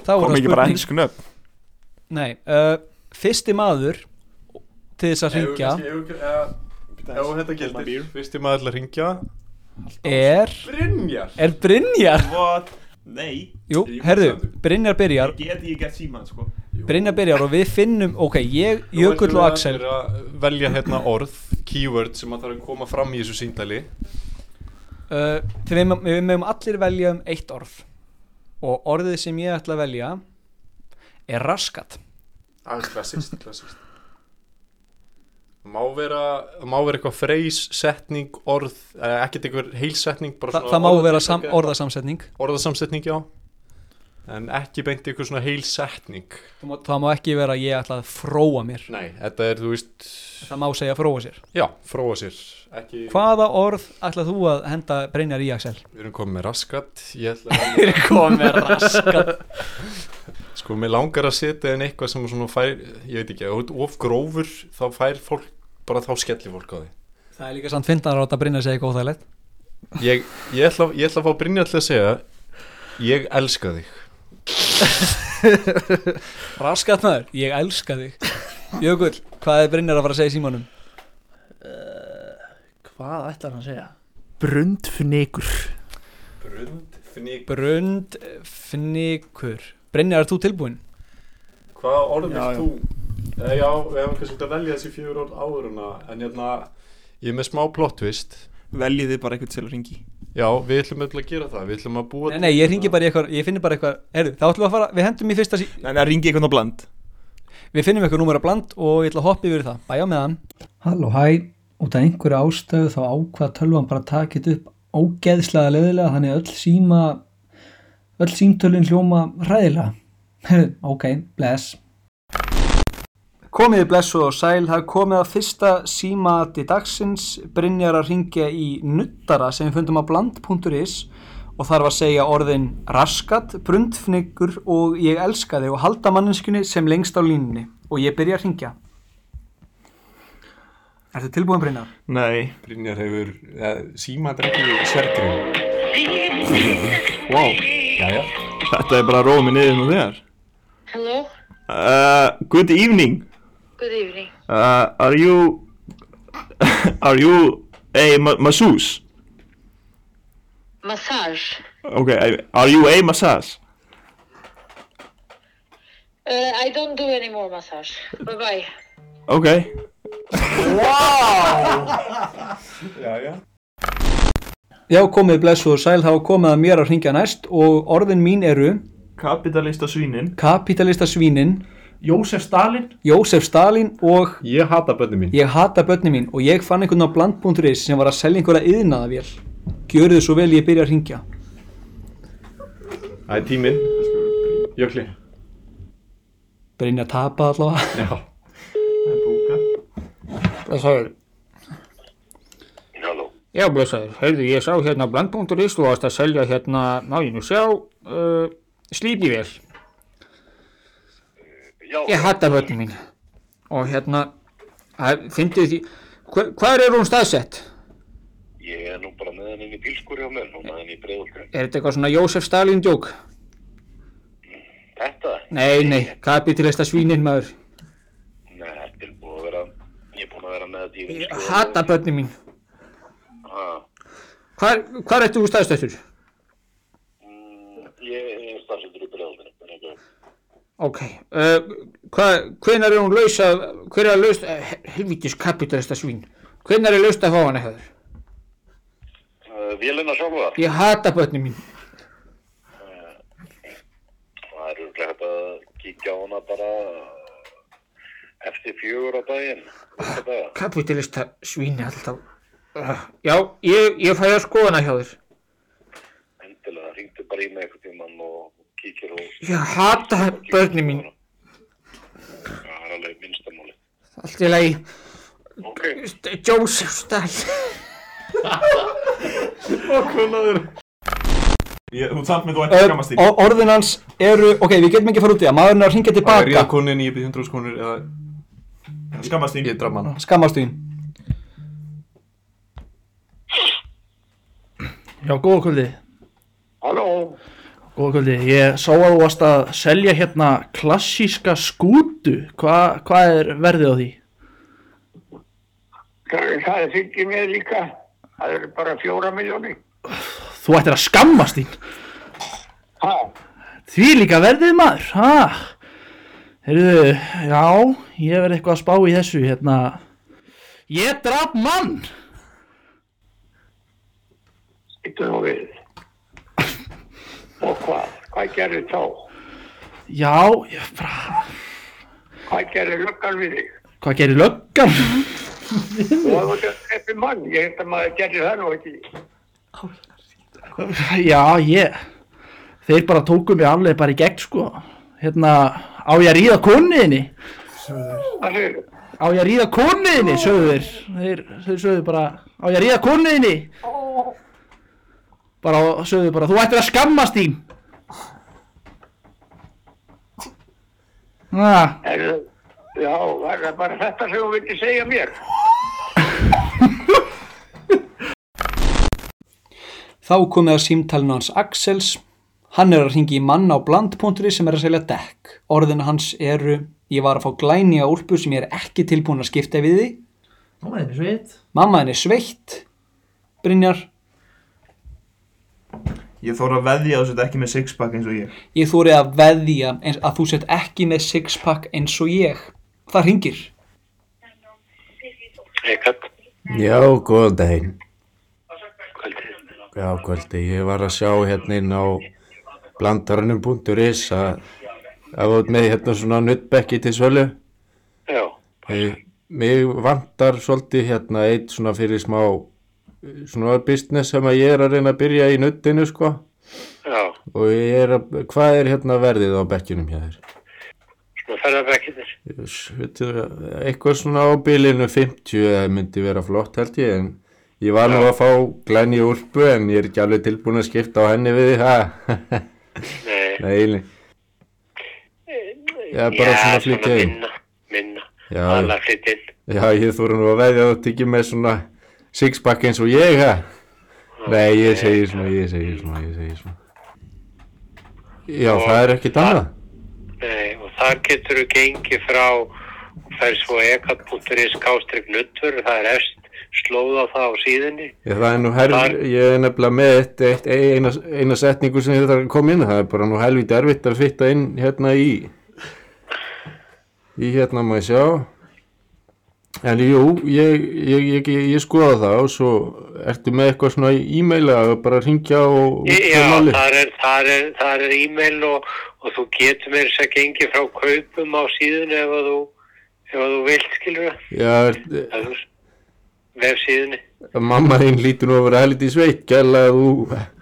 [SPEAKER 7] þá er
[SPEAKER 2] Kom
[SPEAKER 7] það
[SPEAKER 2] ekki bara
[SPEAKER 7] spurning-
[SPEAKER 2] ennsku nöfn
[SPEAKER 7] Nei, uh, fyrsti maður til þess að hringja
[SPEAKER 5] Já, þetta gildir Fyrsti maður til að ringja
[SPEAKER 7] er
[SPEAKER 5] Brynjar.
[SPEAKER 7] Er Brynjar?
[SPEAKER 2] What? Nei
[SPEAKER 7] Jú,
[SPEAKER 2] Ég-
[SPEAKER 7] herðu, Brynjar byrjar
[SPEAKER 2] Ég get ég gert síman sko
[SPEAKER 7] Brynjar byrjar og við finnum, ok, ég, Jökull og Axel
[SPEAKER 5] Þú ætlum við að velja hérna orð Keyword sem að þarf að koma fram í þessu síndali
[SPEAKER 7] uh, þegar við, megum- við meðum allir velja um eitt orð og orðið sem ég ætla að velja er raskat
[SPEAKER 5] Það er klassist, klassist Má vera, má vera eitthvað freys, setning, orð, eh, ekkert einhver heilsetning bara
[SPEAKER 7] Þa,
[SPEAKER 5] svona
[SPEAKER 7] það má
[SPEAKER 5] orð-
[SPEAKER 7] vera sam, orðasamsetning
[SPEAKER 5] Orðasamsetning, já En ekki beint eitthvað svona heilsetning
[SPEAKER 7] það má, það má ekki vera að ég ætla að fróa mér
[SPEAKER 5] Nei, þetta er, þú veist
[SPEAKER 7] það má segja fróa sér
[SPEAKER 5] Já, fróa sér ekki...
[SPEAKER 7] hvaða orð ætla þú að henda Brynjar í Axel?
[SPEAKER 5] Við erum komið með raskat Ég ætla að-
[SPEAKER 7] Við erum komin með raskat.
[SPEAKER 5] Sko, mér langar að setja en eitthvað sem svona fær Ég veit ekki, ef þú ert of grófur Þá fær fólk, bara þá skellir fólk á því
[SPEAKER 7] það er líka samt finnar átt að Brynjar segja eitthvað óþægilegt
[SPEAKER 5] Ég, ég, ætla, ég ætla að fá Brynja til að segja Ég elska þig
[SPEAKER 7] raskat maður, ég elska þig Jökull, hvað er Brynjar að fara að segja í símanum?
[SPEAKER 6] Hvað ætlar hann að segja? Brundfnikur
[SPEAKER 5] Brundfník
[SPEAKER 7] Brundfnikur Brynjar, er þú tilbúin?
[SPEAKER 5] Hvaða orð
[SPEAKER 6] Já, já.
[SPEAKER 5] vilt þú? Eh, Já, við hefum kannski svolítið að velja þessi fjögur orð áður en að En hérna, ég er með smá plottvist
[SPEAKER 2] Veljið þið bara eitthvað til að ringi
[SPEAKER 5] Já, við ætlum öll að gera það, við ætlum að búa
[SPEAKER 7] Nei, nei, ég ringi bara í eitthvað, ég finnir bara eitthvað Herru, þá ætlum við að fara, við hendum í fyrsta sí
[SPEAKER 2] Nei, nei, ringi eitthvað á bland
[SPEAKER 7] Við finnum eitthvað númer á bland og ég ætla að hoppa yfir það Bæja með hann
[SPEAKER 11] Halló, hæ, út af einhverju ástöðu þá ákvað tölvan bara að taka þetta upp ógeðslega leðilega þannig að öll síma, öll símtölin hljóma ræðilega. Heyrðu, ok, bless.
[SPEAKER 7] Komiði blessuð og sæl, það er komið að fyrsta símati dagsins Brynjar að ringja í nuttara sem við fundum á bland.is og þarf að segja orðin raskat, brundfnyggur og ég elska þig og halda manninskunni sem lengst á línunni og ég byrja að ringja. Er þetta tilbúin, Brynjar?
[SPEAKER 2] Nei
[SPEAKER 5] Brynjar hefur eh, ja, símadrengi svergrið
[SPEAKER 2] Wow
[SPEAKER 5] Jæja
[SPEAKER 2] Þetta er bara rómi niður nú þegar
[SPEAKER 12] Hello,
[SPEAKER 2] uh, Good evening
[SPEAKER 12] good evening.
[SPEAKER 2] uh, Are you Are you a ma masseuse?
[SPEAKER 12] Massage.
[SPEAKER 2] Okay, I- are you a massage?
[SPEAKER 12] Uh, I don't do any more massage. Bye bye.
[SPEAKER 2] Okay
[SPEAKER 5] Jæja
[SPEAKER 7] Já, komið blessuð og sæl, þá komið að mér að ringja næst og orðin mín eru
[SPEAKER 2] Kapitalista svínin
[SPEAKER 7] kapitalista svínin
[SPEAKER 13] Jósef Stalin
[SPEAKER 7] Jósef Stalin og
[SPEAKER 5] Ég hata bönni mín
[SPEAKER 7] Ég hata bönni mín og ég fann einhvern á bland.is sem var að selja einhverja yðnaðavél Gjörðu þið svo vel ég byrja að ringja
[SPEAKER 5] Það er tíminn Jökli
[SPEAKER 7] Brynja að tapa allavega
[SPEAKER 5] Já
[SPEAKER 4] Blessaður. Halló. Já, blessaður. Heyrðu, ég sá hérna bland.is og varst að selja hérna, má ég nú sjá, uh, slípivél. Já. Ég hatta völdin mín. Og hérna, að, fyndið því, hver, hver er hún staðsett?
[SPEAKER 14] Ég er nú bara með hann inn í bílskúri á mér, núna hann í breiðolti.
[SPEAKER 4] Er þetta eitthvað svona Jósef Stalin djók?
[SPEAKER 14] Þetta?
[SPEAKER 4] Nei, nei, kapitalista svínin maður.
[SPEAKER 14] Nei, þetta er búið að vera, ég er búin að vera með þetta í vinnslu.
[SPEAKER 4] Hatta bönni mín.
[SPEAKER 14] Ha,
[SPEAKER 4] Hvar, hvar ertu þú staðsettur?
[SPEAKER 14] ég er starfsettur í breiðoltinu, en ekki.
[SPEAKER 4] Ok, uh, hva, hvenar er hún laus að, hver er að laus, uh, helvítis kapitalista svín, hvenar er laust að fá hann eitthvað?
[SPEAKER 14] Uh, Vélina sjálfa,
[SPEAKER 4] Ég hata börnum mín.
[SPEAKER 14] það er örugglega hægt að kíkja á hana bara eftir fjögur á daginn. Þetta daga.
[SPEAKER 4] Kapitalista svín er alltaf, uh, já, ég, ég fæ að skoða hana hjá þér.
[SPEAKER 14] Endilega, hringdu bara í mig eitthvað tímann og kíkir og...
[SPEAKER 4] Ég hata börnum mín,
[SPEAKER 14] Það er alveg minnstamáli.
[SPEAKER 4] allt í lagi,
[SPEAKER 14] Ok.
[SPEAKER 4] St- Joseph Stalin.
[SPEAKER 2] Okkurlaður Þú samt með þú ætti að skammast þín
[SPEAKER 7] Ö, Orðin hans eru, ok, við getum ekki að fara út í það, maðurinn er að ringja
[SPEAKER 5] Það er
[SPEAKER 7] tilbaka
[SPEAKER 5] ríðakonin, ég byrði 100 skonur eða
[SPEAKER 2] Skammast þín
[SPEAKER 5] Ég draf manna
[SPEAKER 7] Skammast þín
[SPEAKER 6] Já, góða kvöldi
[SPEAKER 14] Halló
[SPEAKER 6] Góða kvöldi, ég sá að þú varst að selja hérna klassíska skútu Hva, Hvað er verðið á því?
[SPEAKER 14] Það, það fylgir mér líka. Það eru bara fjóra miljóni.
[SPEAKER 6] Þú ættir að skammast þín
[SPEAKER 14] Ha?
[SPEAKER 6] Því líka verðið maður, ha? Heyrðu, já, ég verð eitthvað að spá í þessu hérna Ég draf mann
[SPEAKER 14] Þetta nú við. Og hvað? Hvað gerir þá?
[SPEAKER 6] Já, ég, bara,
[SPEAKER 14] Hvað gerir löggan við þig?
[SPEAKER 6] hvað gerir löggan?
[SPEAKER 14] Þú hefur þetta eftir mann. Ég held að maður gerir það nú ekki.
[SPEAKER 6] Já, ég Þeir bara tóku mig alveg bara í gegn sko Hérna, á ég að ríða konniðinni
[SPEAKER 14] Það er
[SPEAKER 6] Á ég að ríða konniðinni, sögðu þeir Þeir, þeir sögðu bara, á ég að ríða konniðinni Bara, sögðu bara, þú ættir að skammast þín ah,
[SPEAKER 14] Er, já, var það bara þetta sem þú vildi segja mér?
[SPEAKER 7] Þá komið að símtalinu hans Axels, hann er að ringi í mann á bland.is sem er að selja dekk. Orðin hans eru, ég var að fá glæni á úlpu sem ég er ekki tilbúin að skipta við því.
[SPEAKER 6] Mamma þín er sveit
[SPEAKER 7] Mamma henni sveitt, Brynjar,
[SPEAKER 2] Ég þóra að veðja að þú sett ekki með sixpack eins og ég
[SPEAKER 7] ég þórið að veðja eins, að þú sett ekki með sixpack eins og ég. Það ringir.
[SPEAKER 15] Já, góðan daginn. Kvöldi. Já, kvöldi. Ég var að sjá hérna inn á blandarannum.is að að út með hérna svona nuttbekki til sölu.
[SPEAKER 14] Já.
[SPEAKER 15] Hey, mig vantar svolítið hérna eitt svona fyrir smá eh, svona business sem að ég er að reyna að byrja í nuttinu sko.
[SPEAKER 14] Já.
[SPEAKER 15] Og ég er að, hvað er hérna verðið á bekkinum hjá þér?
[SPEAKER 14] Svo ferðarbekkinir.
[SPEAKER 15] Jöss, veitir, eitthvað svona á bilinu 50 eða myndi vera flott held ég en
[SPEAKER 5] Ég var nú að fá glenni úlpu en ég er ekki alveg tilbúin að skipta á henni við það. Nei. Nei. Ég er bara svona að flytja inn.
[SPEAKER 14] minna, minna,
[SPEAKER 5] Já.
[SPEAKER 14] aðalega að flytja inn.
[SPEAKER 5] Já, ég þóra nú að veðja að þú tekið með svona sixpack eins og ég, ha? Nei, ég segi svona, ég segi svona, ég segi svona. Já,
[SPEAKER 14] Og-
[SPEAKER 5] það er ekkert annað.
[SPEAKER 14] Nei, og þar getur þú gengið frá og fer svo ekat.is kástrygg nuttur, það er efst slóð á það á síðinni
[SPEAKER 5] Ég, það er nú herfið, ég er nefnilega með eitt, eitt, eina, eina setningu sem þetta kom inn, það er bara nú helvítið erfitt að fitta inn hérna í, í hérna maður sjá, en jú, ég, ég, ég, ég, ég skoða það og svo ertu með eitthvað svona í e-maila og bara ringja og... og
[SPEAKER 14] Já,
[SPEAKER 5] og máli.
[SPEAKER 14] þar er, þar er, þar er e-mail og, og þú getur mér þess að gengið frá kaupum á síðunni ef að þú, ef að þú vilt, skilur það
[SPEAKER 5] Já,
[SPEAKER 14] Ef þú- vefsíðunni
[SPEAKER 5] mamma þín lítur nú að vera helvítið sveitt, gæla að þú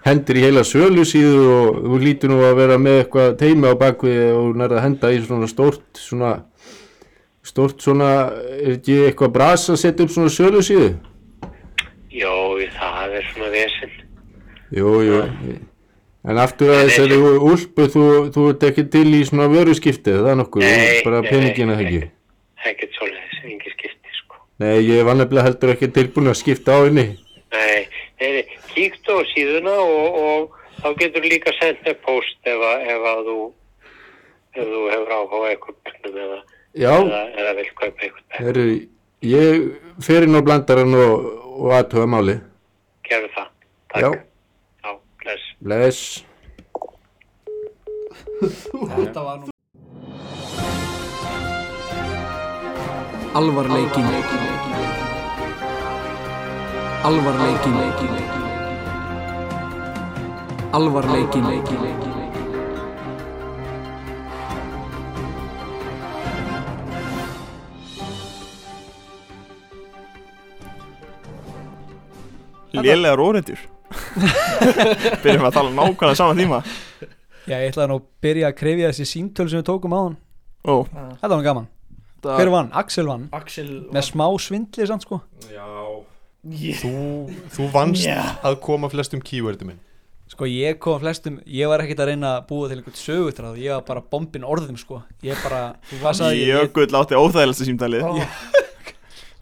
[SPEAKER 5] hendir í heila sölu síðu og þú lítur nú að vera með eitthvað teimi á bakvið og hún er að henda í svona stórt svona stórt svona, er ekki eitthvað bras að setja upp svona sölu síðu?
[SPEAKER 14] Jó, það er svona vesinn
[SPEAKER 5] Jú, jú, en aftur að þessari úlpu þú, þú ert ekki til í svona vöruskiptið, það er nokkuð,
[SPEAKER 14] Nei,
[SPEAKER 5] bara
[SPEAKER 14] nei,
[SPEAKER 5] peningina það ekki.
[SPEAKER 14] ekkert svoleiðis, engin skipti sko.
[SPEAKER 5] Nei, ég var nefnilega heldur ekki tilbúin að skipta á henni.
[SPEAKER 14] Nei, nei, nei, kíktu á síðuna og, og þá getur líka sendt með post ef að, ef að þú ef þú hefur áhuga á eitthvað bernum eða,
[SPEAKER 5] Já.
[SPEAKER 14] eða, eða vil kaupa eitthvað
[SPEAKER 5] Herru, ég fer inn á blandarann og, og aðtöða máli.
[SPEAKER 14] gerðu það,
[SPEAKER 5] Takk. Já,
[SPEAKER 14] já, bless
[SPEAKER 5] bless.
[SPEAKER 4] Þetta var nú
[SPEAKER 16] Alvarleikin Alvarleikin Alvarleikin
[SPEAKER 2] Lélegar óreitjur Byrjum að tala nákvæmlega sama tíma
[SPEAKER 4] Já, ég ætlaði nú að byrja að krefja þessi símtöl sem við tókum á hann
[SPEAKER 2] Ó.
[SPEAKER 4] Þetta var gaman
[SPEAKER 2] Það-
[SPEAKER 4] Hver vann? Axel vann
[SPEAKER 7] Axel
[SPEAKER 4] Með smá svindli samt sko
[SPEAKER 5] Já
[SPEAKER 17] Þú, þú vannst
[SPEAKER 4] Já.
[SPEAKER 17] að koma flestum keywordum inn
[SPEAKER 4] Sko ég kom að flestum, ég var ekkert að reyna að búa til einhvern sögutráð Ég var bara bombin orðum sko Ég bara, hvað sagði ég? ég?
[SPEAKER 2] Jökull átti óþægilegsta símtalið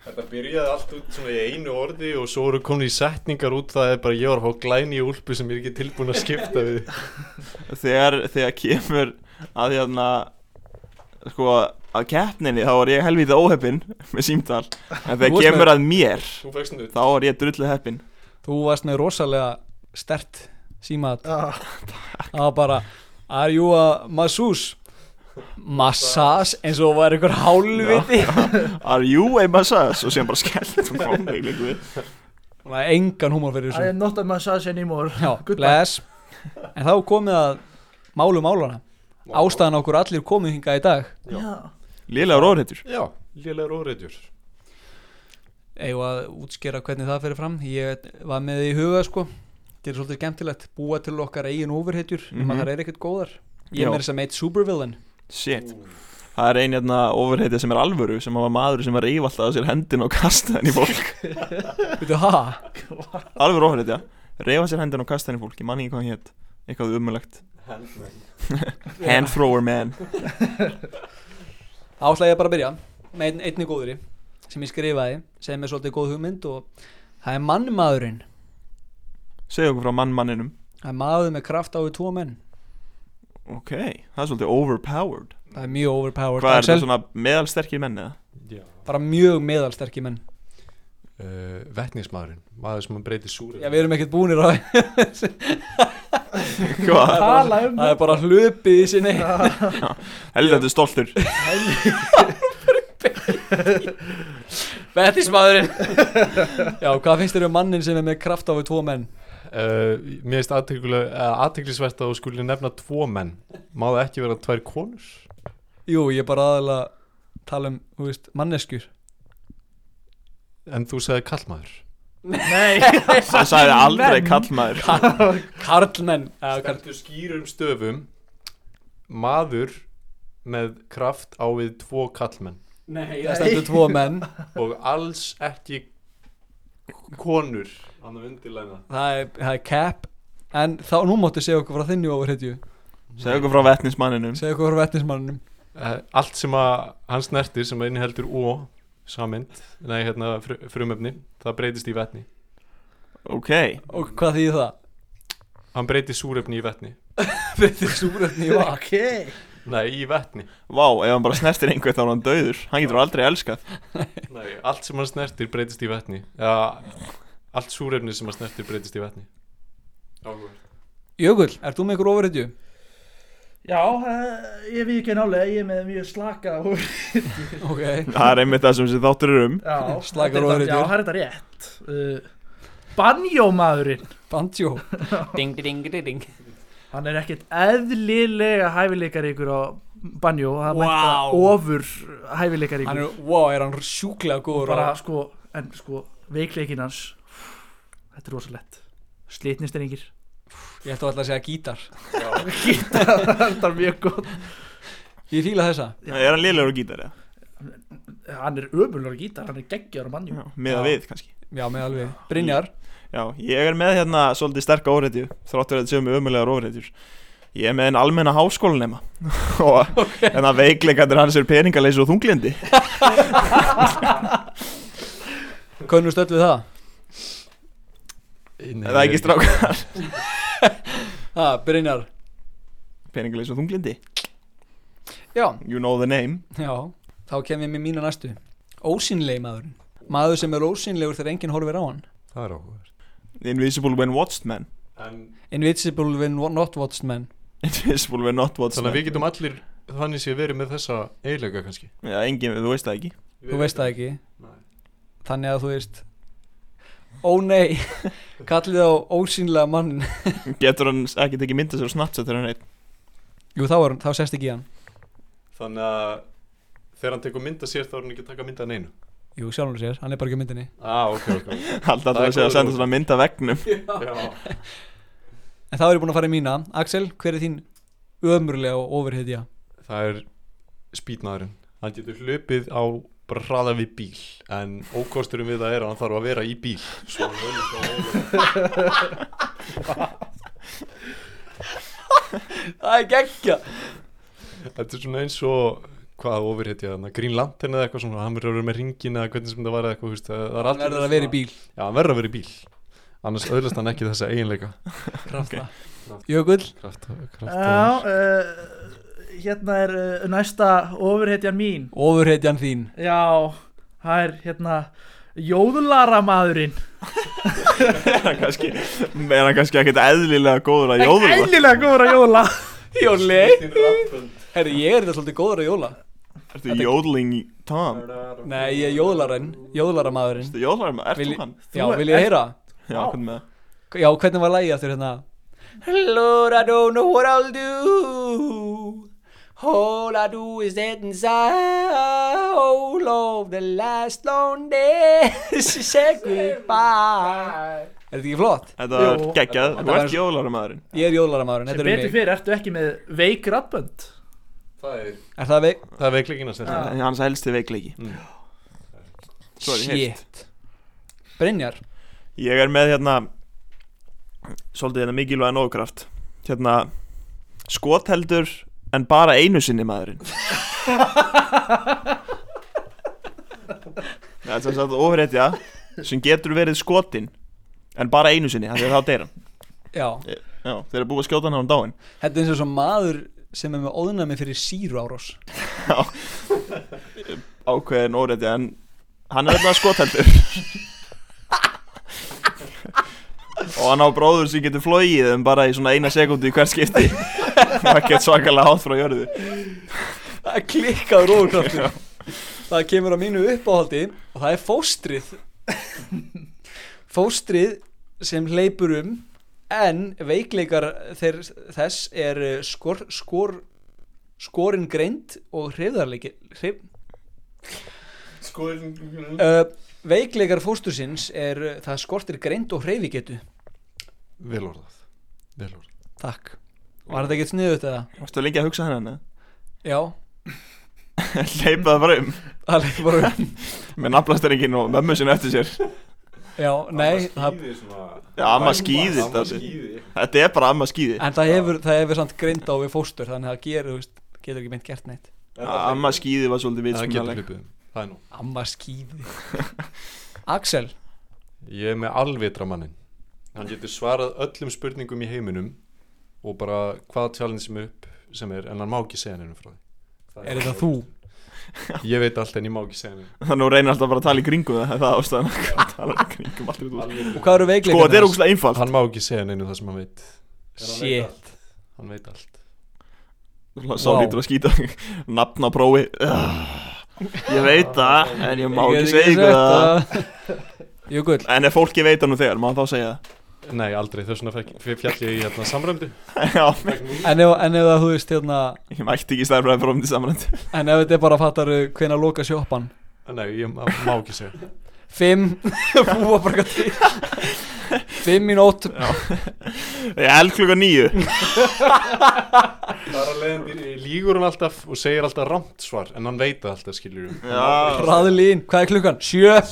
[SPEAKER 17] Þetta byrjaði allt út svona í einu orði og svo voru komin í setningar út það er bara ég var að fá glæni í úlpu sem ég er ekki tilbúin að skipta við
[SPEAKER 2] þegar, þegar kemur að hérna sko að keppninni þá var ég helvítið óheppin með símtal en
[SPEAKER 4] Þú
[SPEAKER 2] þegar
[SPEAKER 4] varst
[SPEAKER 2] kemur
[SPEAKER 4] með-
[SPEAKER 2] að mér
[SPEAKER 17] Þú fékkst nudd.
[SPEAKER 2] þá var ég drullu heppin
[SPEAKER 4] Þú varst með rosalega stert símaðat Það var bara, are you a masseuse? Massas, eins og var einhver hálfviti
[SPEAKER 2] Are you a massage? og sem bara skellt um komið líka við
[SPEAKER 4] Það var engan húmor fyrir
[SPEAKER 7] I
[SPEAKER 4] þessu
[SPEAKER 7] am not a massage anymore
[SPEAKER 4] Já, bless En þá er komið að málu málana Ástæðan okkur allir komið hingað í dag
[SPEAKER 7] Já.
[SPEAKER 2] Lélegar orðhættur
[SPEAKER 17] Já, lélegar óreitjur
[SPEAKER 4] eigum að útskýra hvernig það fyrir fram ég var með í huga sko þetta er svolítið skemmtilegt, búa til okkar eigin overhitjur mm
[SPEAKER 2] Mhm.
[SPEAKER 4] -hmm. það er ekkert góðar ég
[SPEAKER 2] Já.
[SPEAKER 4] er meira sem eitt supervillain
[SPEAKER 2] Shit Það er ein hérna ofurheitið sem er alvöru sem var maður sem var reyf alltaf á sér hendin og kasta henni í fólk
[SPEAKER 4] veitu ha
[SPEAKER 2] Alvöru ofurheitið, já Reyfa sér hendin og kasta henni í fólk, ég man ekki hvað hann hétt Eitthvað umulegt Hand thrower man
[SPEAKER 4] Þá ætla ég bara að byrja með ein, einni góðri sem ég skrifaði sem er svolítið góð hugmynd og það er mannmaðurinn
[SPEAKER 2] Segðu okkur frá mannmanninum
[SPEAKER 4] það er maður með kraft á við tvo menn
[SPEAKER 2] Ok, það er svolítið overpowered
[SPEAKER 4] það er mjög overpowered
[SPEAKER 2] Hvað er
[SPEAKER 4] Axel,
[SPEAKER 2] þetta svona meðalsterkir menn eða?
[SPEAKER 4] bara mjög meðalsterki menn
[SPEAKER 17] uh, Vetnismæðurinn, maður sem breytir súri
[SPEAKER 4] Já, við erum ekkert búinir á
[SPEAKER 2] Hvað?
[SPEAKER 4] Tala um Það er bara hlupið í sinni
[SPEAKER 2] Heldur þetta er stoltur
[SPEAKER 4] Bettismadurinn Já, hvað finnst þér um mannin sem er með kraft á við tvo menn?
[SPEAKER 17] Uh, mér finnst athygli- eh, athyglisvert að þú skuli nefna tvo menn Má það ekki vera tvær konur?
[SPEAKER 4] Jú, ég er bara aðalega að tala um, þú veist, manneskjur
[SPEAKER 17] En þú segði kallmaður
[SPEAKER 4] Nei
[SPEAKER 17] Hann sagði aldrei karlmaður.
[SPEAKER 4] Kar Karlmenn Já, karl-
[SPEAKER 17] Stendur skýrum stöfum Maður með kraft á við tvo kallmenn
[SPEAKER 4] Nei, það stendur tvo menn
[SPEAKER 17] Og alls ekki
[SPEAKER 5] konur Þannig undirlæna
[SPEAKER 7] það er, það er cap en þá nú máttu segja okkur frá þinni ofurhetju
[SPEAKER 2] Segðu okkur frá vetnismanninum
[SPEAKER 7] segja okkur frá vetnismanninum
[SPEAKER 5] Eh, Allt sem að hann snertir sem innheldur ó samind, nei hérna fr frumöfni það breytist í vetni
[SPEAKER 2] Ok
[SPEAKER 7] og hvað þýðir það?
[SPEAKER 5] Hann breytir súrefni í vetni
[SPEAKER 7] breytir súrefni í vatn. Ok.
[SPEAKER 5] Nei, í vetni
[SPEAKER 2] Vá, ef hann bara snertir einhvern þá er hann döður Hann getur aldrei elskað
[SPEAKER 5] Nei, allt sem hann snertir breytist í vetni ja, Allt súrefni sem hann snertir breytist í vetni
[SPEAKER 7] Jökull, ert þú með ykkur ofurhetju?
[SPEAKER 6] Já, uh, ég við ekki nálega, ég er með mjög slaka og...
[SPEAKER 7] ok.
[SPEAKER 2] Það er einmitt það sem þessi þáttur er um
[SPEAKER 6] Já,
[SPEAKER 7] Slakar
[SPEAKER 6] þetta er
[SPEAKER 7] og
[SPEAKER 6] þetta-
[SPEAKER 7] öryggur.
[SPEAKER 6] Já, það er þetta rétt. Uh, Banjómaðurinn.
[SPEAKER 7] Banjó.
[SPEAKER 4] ding, ding, ding, ding
[SPEAKER 6] Hann er ekkert eðlilega hæfileikar ykkur á banjó. Það
[SPEAKER 7] Vá.
[SPEAKER 6] mætti ofur hæfileikar ykkur.
[SPEAKER 7] Hann er, wow, er hann sjúklega góður
[SPEAKER 6] Bara
[SPEAKER 7] á-
[SPEAKER 6] sko, en sko, veikleikin hans, þetta er rosalett. Slitnist er yngir.
[SPEAKER 7] Ég ætti alltaf að segja gítar
[SPEAKER 6] Gítar, þetta er mjög gott
[SPEAKER 7] Ég fíla þessa
[SPEAKER 2] Er hann lélegur á gítar eða?
[SPEAKER 6] Hann er ömulur gítar, hann er geggjar á banjó.
[SPEAKER 2] Með að við kannski
[SPEAKER 7] Já, með alveg Brynjar
[SPEAKER 2] Já, ég er með hérna svolítið sterk ofrættju Þráttur að þetta séu með ömulegar ofrættjur Ég er með en almenna háskólanema Og okay. en að veikleikandir hans er peningaleysi og þunglindi
[SPEAKER 7] Könnust öll við það?
[SPEAKER 2] Er það ekki strákar?
[SPEAKER 7] Ha, Brynjar
[SPEAKER 2] Peningaleysi og þunglindi
[SPEAKER 7] Já.
[SPEAKER 2] You know the name
[SPEAKER 7] Já, þá kem ég með mína næstu Ósynlegi maðurinn Maður sem er ósynlegur þegar enginn horfir á hann
[SPEAKER 5] Það er áhugaður
[SPEAKER 2] Invisible when watched man
[SPEAKER 5] En-
[SPEAKER 7] Invisible when not watched men
[SPEAKER 2] Invisible when not watched
[SPEAKER 5] Þannig að
[SPEAKER 2] man
[SPEAKER 5] við getum allir þannig sé verið með þessa eiginlega kannski
[SPEAKER 2] Já, engin, þú veist það ekki
[SPEAKER 7] Þú veist það ekki Þannig að þú veist Ó nei, kallið á ósynlega mann
[SPEAKER 2] Getur hann ekki tekið mynda sér og snart þegar hann er einn
[SPEAKER 7] Jú, þá, er, þá sest ekki í hann
[SPEAKER 5] Þannig að þegar hann tekur mynda sér þá er hann ekki að taka mynda neinu
[SPEAKER 7] Jú, sjálfur sér, hann er bara ekki á myndinni
[SPEAKER 5] Ah, ok, ok
[SPEAKER 2] Alltaf
[SPEAKER 5] Það
[SPEAKER 2] það
[SPEAKER 5] er
[SPEAKER 2] að segja
[SPEAKER 5] góður
[SPEAKER 2] að senda
[SPEAKER 5] úr.
[SPEAKER 2] svona mynd af veggnum
[SPEAKER 5] Já.
[SPEAKER 7] En þá er ég búin að fara í mína Axel, hver er þín ömurlega og ofurhetja?
[SPEAKER 5] Það er spýtnaðurinn Hann getur hlupið á bara hraða við bíl En ókosturum við það er að hann þarf að vera í bíl Svo
[SPEAKER 7] Það er geggja
[SPEAKER 5] Þetta er svona eins og hvað ofurhetja þannig Green Lantern eða eitthvað svona hann verður að vera með ringin eða hvernig sem það var eða eitthvað þú veist, það það er
[SPEAKER 7] Hann
[SPEAKER 5] aldrei
[SPEAKER 7] verður að
[SPEAKER 5] svona-
[SPEAKER 7] vera í bíl.
[SPEAKER 5] Já, hann verður að vera í bíl annars öðlast hann ekki þessa eiginleika
[SPEAKER 7] Krafta Jökull
[SPEAKER 5] Krafta,
[SPEAKER 6] Já, uh, hérna er uh, næsta ofurhetjan mín.
[SPEAKER 7] Ofurhetjan þín
[SPEAKER 6] Já, það er hérna jóðlaramaðurinn.
[SPEAKER 2] Er hann kannski Er hann kannski ekkert eðlilega góður að jóðla
[SPEAKER 6] Eðlilega góður að jóla.
[SPEAKER 7] Jóli Herri, ég er þetta svolítið góður að jóla
[SPEAKER 2] Ertu jóðling Tom?
[SPEAKER 7] Nei, ég er jóðlarinn Jóðlaramaðurinn
[SPEAKER 2] Ertu jóðlaramaður? Ertu hann?
[SPEAKER 7] Já,
[SPEAKER 2] Þú er-
[SPEAKER 7] vil ég heyra?
[SPEAKER 2] Já, hvernig með
[SPEAKER 7] það? Já, hvernig var lagið aftur hérna?
[SPEAKER 4] Lord, I don't know what I'll do. All I do is sit inside. All of the last long days to say goodbye.
[SPEAKER 7] Er þetta ekki flott?
[SPEAKER 2] Þetta er
[SPEAKER 6] Jú.
[SPEAKER 2] geggjað,
[SPEAKER 7] Þetta
[SPEAKER 2] þú
[SPEAKER 7] var-
[SPEAKER 2] ert jóðlaramaðurinn
[SPEAKER 7] Ég er jóðlaramaðurinn,
[SPEAKER 6] Sem
[SPEAKER 7] þetta er
[SPEAKER 6] betur
[SPEAKER 7] mig
[SPEAKER 6] fyrir, ertu ekki með veik rattbönd?
[SPEAKER 5] Það er
[SPEAKER 7] Er það veik?
[SPEAKER 5] Það er veikleikinn að setja
[SPEAKER 2] Það er hans helsti veikleiki
[SPEAKER 5] Mm.
[SPEAKER 2] Svo er ég heilt.
[SPEAKER 7] Shit Brynjar
[SPEAKER 2] Ég er með hérna Svolítið hérna mikilvæga nógkraft Hérna Skotheldur en bara einu sinni maðurinn Það er sem sagt ofréttja sem getur verið skotin en bara einu sinni, þannig að þá deyra
[SPEAKER 7] Já
[SPEAKER 2] Já, þeir eru búið að skjóta hann á hann dáin
[SPEAKER 7] Þetta er eins og svo maður sem er með óðnami fyrir síru árós
[SPEAKER 2] ákveðin óréttja en hann er þarna skotheldur og hann á bróður sem getur flóið en bara í svona eina sekundu í hver skipti og ekkert svakalega hátt frá jörðu
[SPEAKER 7] Það er klikkað róðkraftur Það kemur á mínu uppáhaldi og það er fóstrið Fóstrið sem hleypur um en veikleikar þeir, þess er eh, skor, skor, skorin greind og hreyfðarleiki hreyf,
[SPEAKER 5] Skoðin
[SPEAKER 4] Eh,
[SPEAKER 7] uh, Veikleikar fóstursins er eh, það skortir greind og hreyfigetu
[SPEAKER 5] Vel orðað Vel orðað
[SPEAKER 7] Takk Var þetta ekki sniðut eða?
[SPEAKER 2] Varstu lengi að hugsa hennan eða?
[SPEAKER 7] Já
[SPEAKER 2] Leipaði bara um
[SPEAKER 7] Það leipaði bara
[SPEAKER 2] um Með nafnlastöringin og mömmu sinni eftir sér
[SPEAKER 4] Já, nei það-
[SPEAKER 2] Já, amma skýði
[SPEAKER 4] Amma
[SPEAKER 2] þetta
[SPEAKER 4] skíði.
[SPEAKER 2] Þetta er bara amma skýði
[SPEAKER 4] En það hefur, það hefur samt greind á við fóstur Þannig að það gerir, þú veist, getur ekki meint gert neitt
[SPEAKER 2] Amma skýði var svolítið
[SPEAKER 5] Það getur
[SPEAKER 2] vitsmjöleg
[SPEAKER 5] hlupið, það er nú
[SPEAKER 4] Amma skýði Axel
[SPEAKER 5] Ég er með alvitra mannin Hann getur svarað öllum spurningum í heiminum og bara hvaða tjálinn sem er upp sem er, en hann má ekki segja nefnum frá því Það
[SPEAKER 4] Er þetta þú?
[SPEAKER 5] Ég veit allt en ég má ekki segja nefnum
[SPEAKER 2] Þannig að hún reynir alltaf bara að tala í kringu það Það er ástæðan að hann tala í kringum allt út úr.
[SPEAKER 4] Og hvað eru veikleikarnir
[SPEAKER 2] Sko, þetta er
[SPEAKER 4] hans?
[SPEAKER 2] ógustlega einfalt
[SPEAKER 5] Hann má ekki segja nefnum það sem hann veit
[SPEAKER 4] Shit
[SPEAKER 5] Hann veit allt
[SPEAKER 2] Sá
[SPEAKER 5] Vá.
[SPEAKER 2] lítur að skýta Nafna prófi Ég veit það, en ég má
[SPEAKER 5] Ég
[SPEAKER 2] ekki segja
[SPEAKER 5] get ekki
[SPEAKER 2] ykkur
[SPEAKER 5] sagt
[SPEAKER 2] það
[SPEAKER 4] Jökull
[SPEAKER 2] En ef fólki veit það nú þegar, má hann þá segja það
[SPEAKER 5] Nei, aldrei, þess vegna fekk- f- féll ég í hérna samræmdu
[SPEAKER 2] Já
[SPEAKER 4] En ef, en ef það, þú veist, hérna
[SPEAKER 2] Ég mætti ekki stærfræði frá um til samrænd
[SPEAKER 4] En ef þetta er bara að fattar hvenær loka sjoppan
[SPEAKER 5] Nei, ég má, má ekki segja
[SPEAKER 4] Fimm Þú var bara gæti Fimm mínút
[SPEAKER 2] Ég held klukka nýju
[SPEAKER 5] Bara leiðandi lígur hann alltaf og segir alltaf rámt svar en hann veit það alltaf skiljur
[SPEAKER 4] Raðlín, hvað er klukkan? Sjö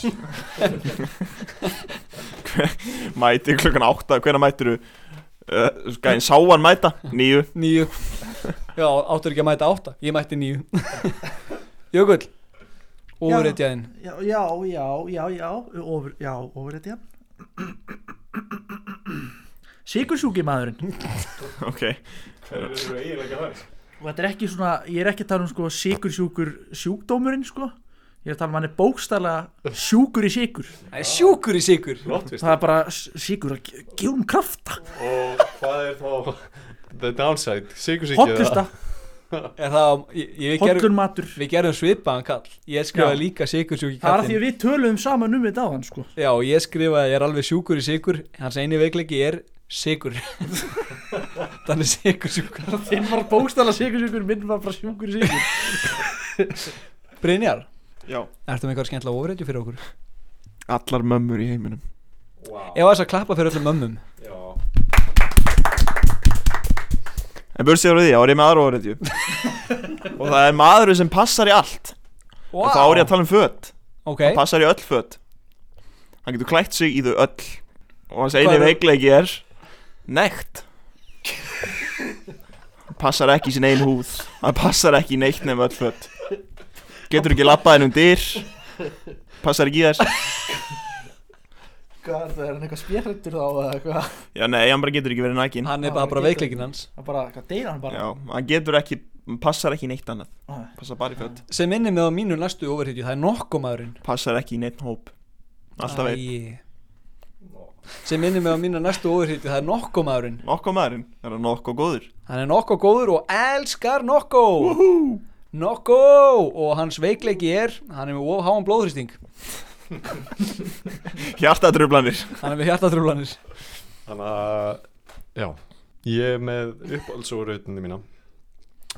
[SPEAKER 2] Mæti klukkan átta, hvenær mættir þú? Gæðin sá hann mæta, nýju
[SPEAKER 4] Nýju Já, áttur ekki að mæta átta Ég mætti nýju Jökull Óvurreitjaðinn
[SPEAKER 13] Já, já, já, já, já, ofur, já, ofurréttjaðin. Sikursjúki maðurinn.
[SPEAKER 2] Ok
[SPEAKER 5] eru eiginlega þar?
[SPEAKER 13] Og þetta er ekki svona, ég er ekki að tala um sko sikursjúkur sjúkdómurinn sko. Ég er að tala um hann er bókstala sjúkur í sikur.
[SPEAKER 4] Það er sjúkur í sikur.
[SPEAKER 5] Lottvistin.
[SPEAKER 13] Það er bara s- sikur að ge- gefa um krafta.
[SPEAKER 5] Og hvað er þá The downside, sigursíkja
[SPEAKER 7] ah.
[SPEAKER 13] Hollusta.
[SPEAKER 4] Er það, ég, ég gerði-
[SPEAKER 13] Hollur matur
[SPEAKER 4] Við gerum svipaðan kall Ég skrifaði
[SPEAKER 13] Já.
[SPEAKER 4] líka sikursjúki
[SPEAKER 13] Það er að því
[SPEAKER 4] kallinn
[SPEAKER 13] að við töluðum saman um þetta á hann sko.
[SPEAKER 4] Já, og ég skrifaði ég er alveg sjúkur í sikur Hans eini veikleiki er sikur Þannig sikursjúkur
[SPEAKER 13] Þinn var bókstala sikursjúkur, minn var bara sjúkur í sikur.
[SPEAKER 4] Brynjar
[SPEAKER 2] Já
[SPEAKER 4] Ertu með eitthvað skemmtilega ofrætju fyrir okkur?
[SPEAKER 2] Allar mömmur í heiminum
[SPEAKER 4] Ég var þess að klappa fyrir öllum mömmum
[SPEAKER 2] En bursið frá því, þá er ég með aðra orðið Og það er maður sem passar í allt
[SPEAKER 4] Vá.
[SPEAKER 2] En þá er ég að tala um föt
[SPEAKER 4] Ok.
[SPEAKER 2] Hann passar í öll föt Hann getur klætt sig í þau öll Og hans
[SPEAKER 4] Hvað
[SPEAKER 2] eini
[SPEAKER 4] er-
[SPEAKER 2] veikleiki er Nekt Hann Passar ekki í sin ein húð Hann passar ekki í neitt nefn öll föt Getur ekki labbað hennum dyr Passar ekki í þess
[SPEAKER 13] Hvað er það, er hann eitthvað spjærtur þá eða eitthvað?
[SPEAKER 2] Já nei, hann bara getur ekki verið nækin
[SPEAKER 4] Hann
[SPEAKER 13] er bara- bara veikleikinn hans. Hann bara, hvað, deyr hann bara?
[SPEAKER 2] Já, hann getur ekki, passar ekki í neitt annað
[SPEAKER 13] Nei.
[SPEAKER 2] Passar bara í föt
[SPEAKER 4] Sem minni með á mínu næstu ofrætju Það er nokkumaðurinn
[SPEAKER 2] Passar ekki í neitt hóp Alltaf einn
[SPEAKER 4] Æi. Sem minni með á mínu næstu ofrætju Það er nokkumaðurinn
[SPEAKER 2] Nokkumaðurinn, er hann nokkuð góður
[SPEAKER 4] Hann er nokko góður og elskar nokko Nokko Og hans veikleiki er Hann er með of háan blóðrýsting
[SPEAKER 2] Hjartatrublanir
[SPEAKER 4] Hann er með hjartatrúlanir
[SPEAKER 5] Þannig að, já Ég er með uppáhaldsórautinu mína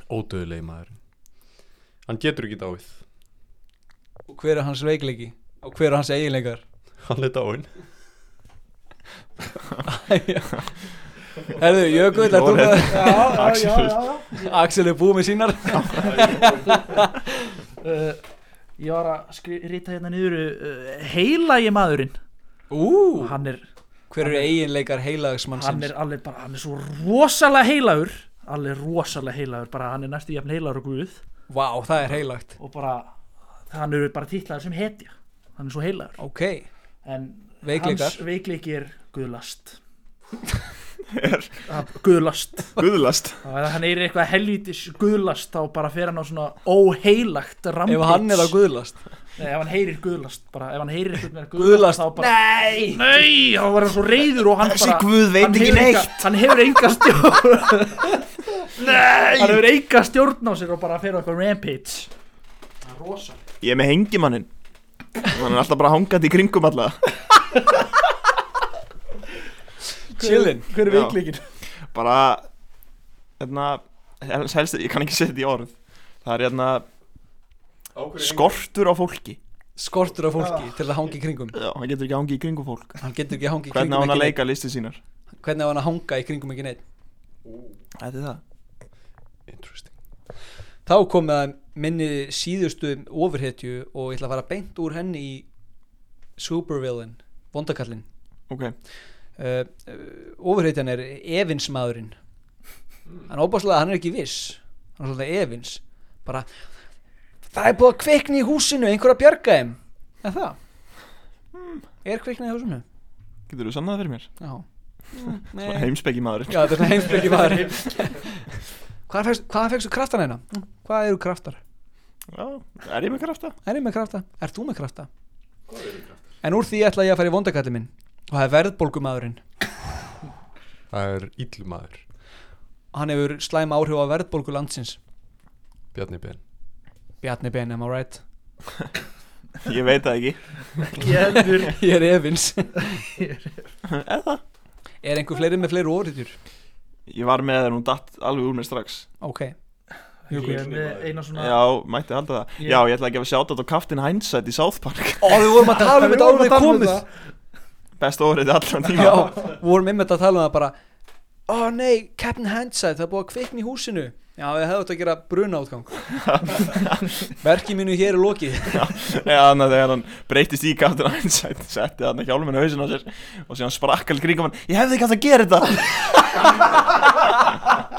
[SPEAKER 5] Ódöðulegi maður Hann getur ekki dáið
[SPEAKER 4] Og hver er hans veikleiki Og hver er hans eiginleikar
[SPEAKER 5] Hann er dáin
[SPEAKER 4] Herðu, Jökull, er þú með
[SPEAKER 5] Já, já, já, já, já.
[SPEAKER 4] Axel er búið með sínar
[SPEAKER 13] uh, ég var að skri- rita hérna niður uh, heilagi maðurinn
[SPEAKER 4] Ú,
[SPEAKER 13] hann er
[SPEAKER 4] Hver eru eiginleikar heilagsmannsins
[SPEAKER 13] hann er alveg bara, hann er svo rosalega heilagur alveg rosalega heilagur, bara hann er næstu jafn heilagur og guð
[SPEAKER 4] Vá, það er heilagt
[SPEAKER 13] og bara, hann eru bara titlaður sem hetja hann er svo heilagur
[SPEAKER 4] ok
[SPEAKER 13] en
[SPEAKER 4] Veikleikar?
[SPEAKER 13] hans veikleiki er guðlast er guðlast
[SPEAKER 2] guðlast
[SPEAKER 13] ef hann er eitthvað helvítis guðlast þá bara fer hann á svona óheilagt rampage
[SPEAKER 4] Ef hann er að guðlast
[SPEAKER 13] Nei, ef hann heyrir guðlast bara, ef hann heyrir eitthvað með
[SPEAKER 4] Guðlast.
[SPEAKER 13] guðlast, þá bara Nei! Nei! Þá var hann svo reyður og hann
[SPEAKER 2] Þessi
[SPEAKER 13] bara
[SPEAKER 2] guð veit
[SPEAKER 13] hann
[SPEAKER 2] ekki
[SPEAKER 13] hefur
[SPEAKER 2] neitt.
[SPEAKER 13] enga- Hann hefur enga stjórn Nei! Hann hefur enga stjórn á sér og bara fer á eitthvað rampage Það er rosa
[SPEAKER 2] Ég er með hengimanninn Hann er alltaf bara hangandi í kringum alla
[SPEAKER 4] Chillin.
[SPEAKER 13] Hver er
[SPEAKER 2] Já.
[SPEAKER 13] veikleikinn?
[SPEAKER 2] Bara Hérna helst, Ég kann ekki setja þetta í orð Það er hérna Skortur á fólki
[SPEAKER 4] Skortur á fólki til að hangi í kringum
[SPEAKER 2] Já, hann getur ekki hangi í kringum fólk
[SPEAKER 4] Hann getur ekki hangi í
[SPEAKER 2] Hvernig á
[SPEAKER 4] kringum
[SPEAKER 2] hann að
[SPEAKER 4] ekki
[SPEAKER 2] leika listi sínar?
[SPEAKER 4] neitt Hvernig á hann að hanga í kringum ekki neitt
[SPEAKER 2] Þetta er það
[SPEAKER 4] Þá komið að minni síðustu ofurhetju og ég ætla að fara beint úr henni í Supervillain
[SPEAKER 7] Bondakallinn
[SPEAKER 2] okay.
[SPEAKER 7] uh, Ofurheitjan er evinsmaðurinn Hann óbáslega, hann er ekki viss Hann er svolítið evins Bara, það er búið að kveikna í húsinu Einhver að bjarga þeim Er það? Er kveiknað í húsinu?
[SPEAKER 2] Getur þú sannað fyrir mér? Mm,
[SPEAKER 7] Já
[SPEAKER 2] Svona heimspeki maður
[SPEAKER 7] Já, þetta er svona heimspeki maður Hvaðan fékkst- Hvaðan fegstu kraftan hérna?
[SPEAKER 13] Mm.
[SPEAKER 7] Hvað eru kraftar?
[SPEAKER 2] Já, er ég með krafta?
[SPEAKER 7] Er ég með krafta? Er þú með krafta? En úr því ætla ég að fara í vondakalli minn og það er verðbólgumadurinn
[SPEAKER 5] Það er íllumadur
[SPEAKER 7] Hann hefur slæm áhrif á verðbólgu landsins
[SPEAKER 5] Bjarni Ben
[SPEAKER 7] Bjarni Ben, am I right?
[SPEAKER 2] Ég veit það ekki
[SPEAKER 7] Ekki heldur. Ég er efins.
[SPEAKER 2] Ég er efins Eða?
[SPEAKER 7] Er einhver fleiri með fleiri orðitjur?
[SPEAKER 2] Ég var með það en hún datt alveg úr mér strax
[SPEAKER 7] Ok
[SPEAKER 13] Ég er með eina svona-
[SPEAKER 2] Já, mætti halda það
[SPEAKER 13] Ég-
[SPEAKER 2] Já, ég ætla ekki að sjá þetta á Captain Hindsight í South Park
[SPEAKER 7] Ó, við vorum að tala um þetta áður en við komið
[SPEAKER 2] Besta orðið allan tíma
[SPEAKER 7] Já, við vorum einmitt að tala um það bara Ó nei, Captain Handside, það er búið að kvikna í húsinu Já, við hefðum þetta að gera bruna átgang Verki mínu hér er lokið
[SPEAKER 2] Já, þannig að þegar hann breytist í Captain Hindsight setti hann hjálminu hausin á sér og síðan sprakk allir kringum hann Ég hefði ekki átt að gera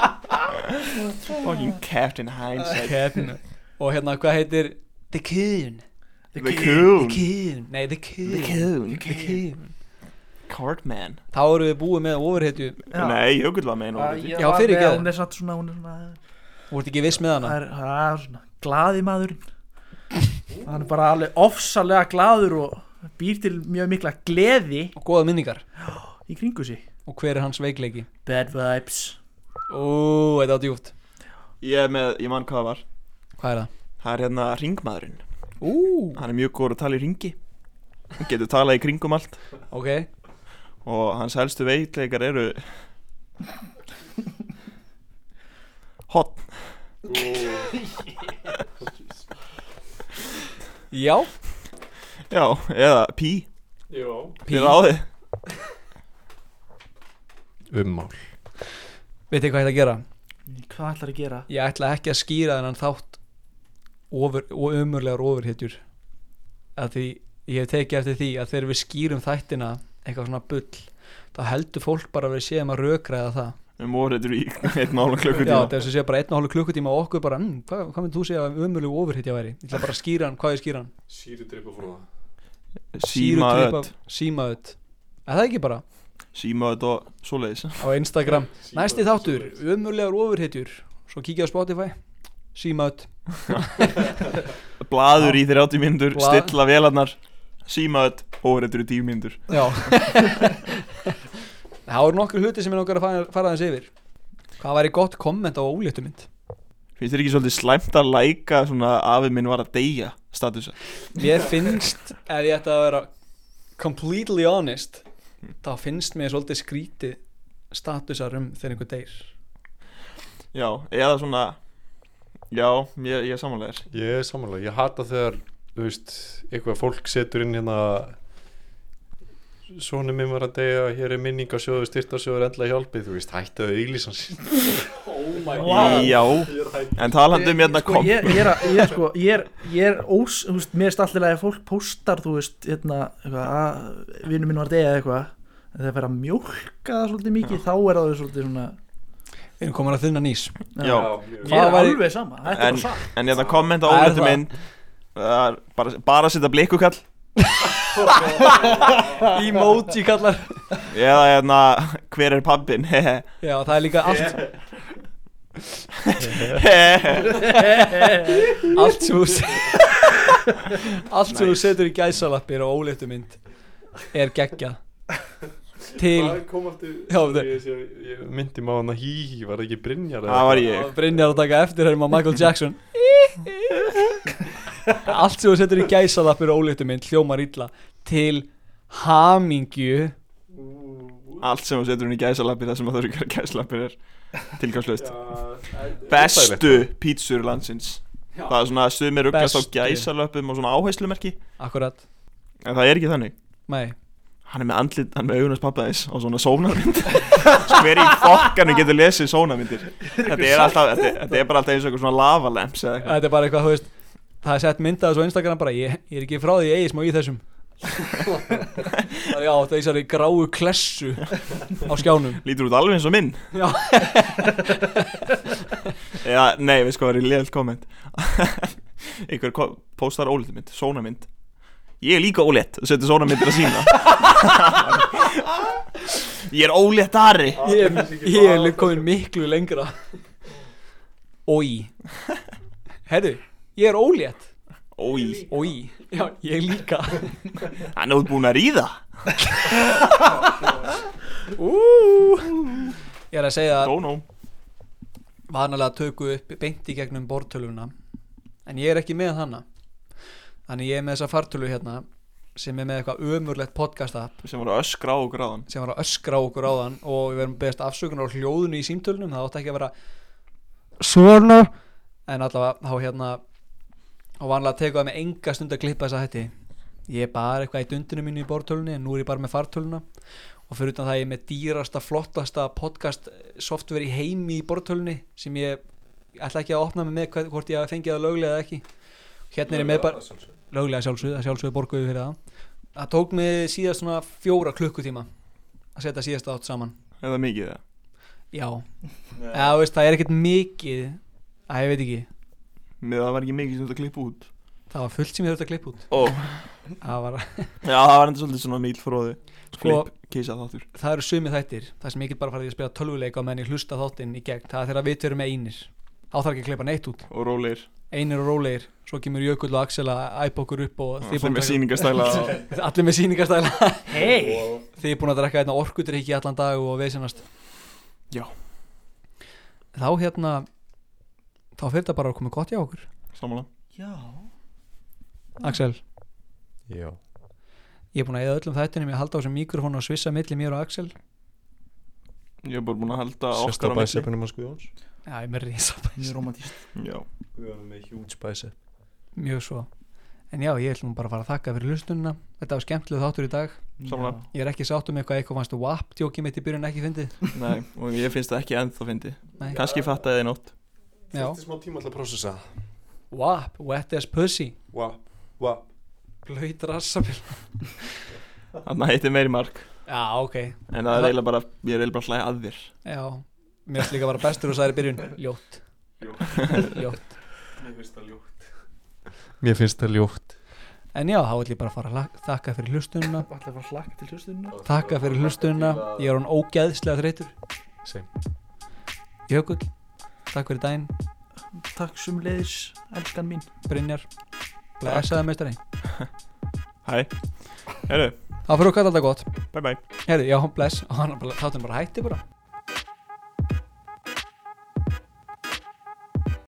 [SPEAKER 2] þetta Fucking Captain Hindsight
[SPEAKER 7] Captain Og hérna, hvað heitir The Coon
[SPEAKER 2] The The Coon. Coon.
[SPEAKER 7] The Coon, nei, The Coon
[SPEAKER 2] The Coon.
[SPEAKER 7] The Coon
[SPEAKER 2] Cardman
[SPEAKER 7] Þá erum við búið með ofurhetju
[SPEAKER 2] Já. Nei, Jökull var með eina
[SPEAKER 13] Að
[SPEAKER 2] ofurhetju.
[SPEAKER 13] ég
[SPEAKER 7] Já,
[SPEAKER 13] var
[SPEAKER 7] fyrir
[SPEAKER 13] með-
[SPEAKER 7] ekki
[SPEAKER 13] Hún er satt svona, hún er svona
[SPEAKER 7] Þú ert ekki viss með hana
[SPEAKER 13] Það er, það er svona glaði maðurinn Hann er bara alveg ofsalega glaður og býr til mjög mikla gleði
[SPEAKER 7] Og góða minningar
[SPEAKER 13] Í kringu sig
[SPEAKER 7] Og hver er hans veikleiki?
[SPEAKER 13] Bad vibes
[SPEAKER 7] Ó, þetta var djúpt
[SPEAKER 2] Ég, er með, ég man hvað það var
[SPEAKER 7] Hvað er það?
[SPEAKER 2] Það er hérna ringmaðurinn
[SPEAKER 7] Ú
[SPEAKER 2] Hann er mjög góður að tala í ringi Hann getur talað í kringum allt
[SPEAKER 7] Ok
[SPEAKER 2] Og hans helstu veitleikar eru Hot
[SPEAKER 7] Já
[SPEAKER 2] Já, eða pí
[SPEAKER 5] Já.
[SPEAKER 2] Pí ráði
[SPEAKER 5] Ummál
[SPEAKER 7] Veit þið hvað ég ætla að gera?
[SPEAKER 13] Hvað ætlar að gera?
[SPEAKER 7] Ég ætla ekki að skýra þennan þátt ofur, og umurlegar ofurhetjur að því ég hef tekið eftir því að þegar við skýrum þættina eitthvað svona bull þá heldur fólk bara að við séum að rökræða það
[SPEAKER 2] Við morðum í einn og hálfa klukkutíma.
[SPEAKER 7] Já, þess að séu bara einn og hálfa klukkutíma og okkur bara, mm, hvað, hvað myndir þú segja að umurleg ofurhetja væri? Ég ætla bara að skýra hann, hvað ég skýra hann?
[SPEAKER 5] Sýri drippa frá það
[SPEAKER 2] Símaödd.
[SPEAKER 7] Sýrutripp af- Símaödd Er það ekki bara?
[SPEAKER 2] Símaödd og svoleiðis
[SPEAKER 7] á Instagram Næsti þáttur, umurlegar ofurhetjur Svo kíkja á Spotify Símaut
[SPEAKER 2] Blaður í 30 myndur,
[SPEAKER 7] Blað-
[SPEAKER 2] stilla vélarnar Símaödd, óreitur í 10 myndur
[SPEAKER 7] Já Það voru nokkur hluti sem er nokkar að fara, fara þess yfir Hvað væri gott komment á óléttu mynd?
[SPEAKER 2] Finnst þér ekki svolítið slæmt að læka svona afið minn var að deyja statusa?
[SPEAKER 7] Mér finnst, ef ég ætti að vera completely honest þá finnst mér svolítið skrítið statusar um þegar einhver deyr
[SPEAKER 2] Já, eða svona Já, ég, ég samanlegar
[SPEAKER 5] Ég er samanlega, ég hata þegar þú veist, eitthvað fólk setur inn hérna Sónu minn var að deyja, hér er minningasjóður, styrtarsjóður, endla hjálpið, þú veist, hættu að auðlýsa hans
[SPEAKER 13] Oh my
[SPEAKER 2] Já, en talandi um hérna
[SPEAKER 13] sko,
[SPEAKER 2] kom
[SPEAKER 13] ég, ég, er að, ég, er sko, ég er ég er ós, þú veist, mér er stallilega að fólk póstar, þú veist, hérna eitthvað, að vinnu minn var að deyja eða eitthvað en þegar fer að mjólka það svolítið mikið þá er það svolítið svona
[SPEAKER 7] Við erum komin að þunna nýs
[SPEAKER 2] Já.
[SPEAKER 13] Ég er alveg sama, þetta er
[SPEAKER 2] en,
[SPEAKER 13] bara satt
[SPEAKER 2] en hérna kommenta á
[SPEAKER 7] Það er
[SPEAKER 2] óléttu
[SPEAKER 7] það.
[SPEAKER 2] mynd Það er bara, bara að setja blikkukall
[SPEAKER 7] Emoji kallar
[SPEAKER 2] Eða hérna, hver er pappin?
[SPEAKER 7] Já, það er líka allt Allt sem þú se- Allt sem þú setur í gæsalappir og óléttu mynd er geggjað Til
[SPEAKER 5] Hvað kom aftur?
[SPEAKER 7] Já, það-
[SPEAKER 5] ég, ég, ég myndi má hann að hí, hí, var það ekki Brynjar? eða
[SPEAKER 2] Það var
[SPEAKER 5] eitthvað?
[SPEAKER 2] ég.
[SPEAKER 7] Brynjar að taka eftir hérna á Michael Jackson Allt sem þú setur í gæsalappir og óléttu mynd hljómar illa Til hamingju
[SPEAKER 2] Allt sem þú setur hún í gæsalappir Það sem það þurfi að gera gæsalappir er tilgangslöst Bestu pítsur landsins
[SPEAKER 7] Já.
[SPEAKER 2] Það er svona að sumir ruggast á
[SPEAKER 7] Bestu.
[SPEAKER 2] gæsalöpum og svona áherslumerki
[SPEAKER 7] Akkurat
[SPEAKER 2] En það er ekki þannig
[SPEAKER 7] Nei
[SPEAKER 2] Hann er með andlit, hann er með augunars pappa þess og svona sónarmynd Hver í fokkanu getur lesið sónarmyndir Þetta er, alltaf, þetta, er- þetta er bara alltaf eins og eitthvað svona lavalamps eða eitthvað
[SPEAKER 7] Þetta er bara eitthvað, þú veist Það er sett myndað þessu á Instagram bara Ég, ég er ekki frá því ég eigi smá í þessum
[SPEAKER 13] Það er já, þessari gráu klessu á skjánum
[SPEAKER 2] Lítur út alveg eins og minn
[SPEAKER 13] Já.
[SPEAKER 2] Já, nei, við sko það er í liðalt komment Einhver ko- postar ólitu mynd, sónamynd Ég er líka ólétt og setur sónamyndir að sína Ég er ólétt Ari
[SPEAKER 13] Ég, ég er líka komin miklu lengra Ói Herru, ég er ólétt
[SPEAKER 2] Ói
[SPEAKER 13] Ói, já, ég líka
[SPEAKER 2] Hann er búin að ríða
[SPEAKER 13] Ú Ég er að segja að
[SPEAKER 2] Dónó
[SPEAKER 13] Vanalega tökum við upp beint í gegnum bortöluna En ég er ekki með hana Þannig ég er með þessa fartölu hérna Sem er með eitthvað ömurlegt podcast app
[SPEAKER 2] Sem var að öskra á okkur áðan
[SPEAKER 13] Sem var að öskra á okkur áðan Og við verum beðast afsökunar á hljóðinu í símtölunum Það átti ekki að vera
[SPEAKER 18] Svona
[SPEAKER 13] en allavega þá hérna og vanlega tekur það með enga stund að klippa þess að þetta ég er bara eitthvað í dundinu mínu í bortölunni en nú er ég bara með fartöluna og fyrir utan það ég er með dýrasta, flottasta podcast software í heimi í bortölunni sem ég ætla ekki að opna mig með hvað, hvort ég hafi fengið það löglega eða ekki hérna er ég með
[SPEAKER 5] Löglega
[SPEAKER 13] bara
[SPEAKER 5] að sjálfsögðu.
[SPEAKER 13] löglega að sjálfsögðu, að sjálfsögðu borguðu fyrir það það tók mig síðast svona fjóra klukkutíma að setja síðast átt saman
[SPEAKER 2] Eða mikið það
[SPEAKER 13] já, eða, þú veist, það er ekkert mikið að ég veit ekki
[SPEAKER 2] Með það var ekki mikið sem þetta klippa út
[SPEAKER 13] Það var fullt sem ég þurfti að klippa út
[SPEAKER 2] Ó.
[SPEAKER 13] Það var
[SPEAKER 2] Já, það var enda svolítið svona mikil fróði
[SPEAKER 13] Sko,
[SPEAKER 2] Klipp, kísa þáttur
[SPEAKER 13] Það eru sumi þættir Það sem ég get bara farið að spila tölvuleika og meðan ég hlusta þáttinn í gegn Það er þegar við törum með einir Þá þarf ekki að klippa neitt út
[SPEAKER 2] Og rólegir
[SPEAKER 13] Einir og rólegir Svo kemur Jökull og Axel að æpa okkur upp og þið
[SPEAKER 2] Allir
[SPEAKER 13] búin að
[SPEAKER 2] með
[SPEAKER 13] taka-
[SPEAKER 2] sýningarstæla og-
[SPEAKER 13] Allir með sýningarstæla
[SPEAKER 2] Hey.
[SPEAKER 13] Þið er búin að drekka þetta orkudrykki allan dag og veisinnast
[SPEAKER 2] Já
[SPEAKER 13] Þá hérna Þá fyrir þetta bara að koma gott hjá okkur
[SPEAKER 2] Samanlega
[SPEAKER 19] Já
[SPEAKER 13] Axel
[SPEAKER 5] Já
[SPEAKER 13] Ég er búin að eða öllum þættinum Ég halda á þessum mikrofónu og svissa milli mér og Axel
[SPEAKER 2] Ég er bara búin að halda
[SPEAKER 5] Sérsta
[SPEAKER 2] okkar á milli.
[SPEAKER 5] bæsepinum hans Guðjóns
[SPEAKER 13] Já, ég er með risa Mjög
[SPEAKER 19] romantíst
[SPEAKER 2] Já
[SPEAKER 5] Guðjón er með huge bæsep
[SPEAKER 13] Mjög svo En já, ég ætlum bara að fara að þakka fyrir hlustunina Þetta var skemmtilega þáttur í dag
[SPEAKER 2] Sammála.
[SPEAKER 13] Ég er ekki sáttum með eitthvað eitthvað fannst WAP djókið mitt í byrjun ekki fyndið
[SPEAKER 2] Nei, og ég finnst það ekki ennþá fyndi
[SPEAKER 13] Nei.
[SPEAKER 2] Kanski fattaði þið í nótt
[SPEAKER 13] Já.
[SPEAKER 5] Þetta er smá tíma alltaf að prósessa það.
[SPEAKER 13] WAP, wet as pussy
[SPEAKER 5] WAP, WAP
[SPEAKER 13] Blöyt rassabíl
[SPEAKER 2] Þannig að hittir meiri mark
[SPEAKER 13] Já, ok
[SPEAKER 2] En það er eiginlega bara, ég er eiginlega bara að hlæja að þér
[SPEAKER 13] Já, mér finnst líka bara bestur og særi byrjun Ljótt Ljótt
[SPEAKER 5] Mér finnst það ljótt Mér finnst það ljótt
[SPEAKER 13] En já, þá ætlum ég bara að fara að la- þakka fyrir hlustunina
[SPEAKER 19] Alltaf var hlakka til hlustununa
[SPEAKER 13] Þakka fyrir hlustunina Ég er hann ógæðslega þreytur
[SPEAKER 5] Same.
[SPEAKER 13] Jökull, takk fyrir daginn
[SPEAKER 19] Takk sem leiðis, elskan mín
[SPEAKER 13] Brynjar, blæsaði meistari
[SPEAKER 2] Hæ Herru
[SPEAKER 13] Það fyrir okkar alltaf gott
[SPEAKER 2] Bye bye
[SPEAKER 13] Herri, já, bless Og hann bara, þáttum bara hætti bara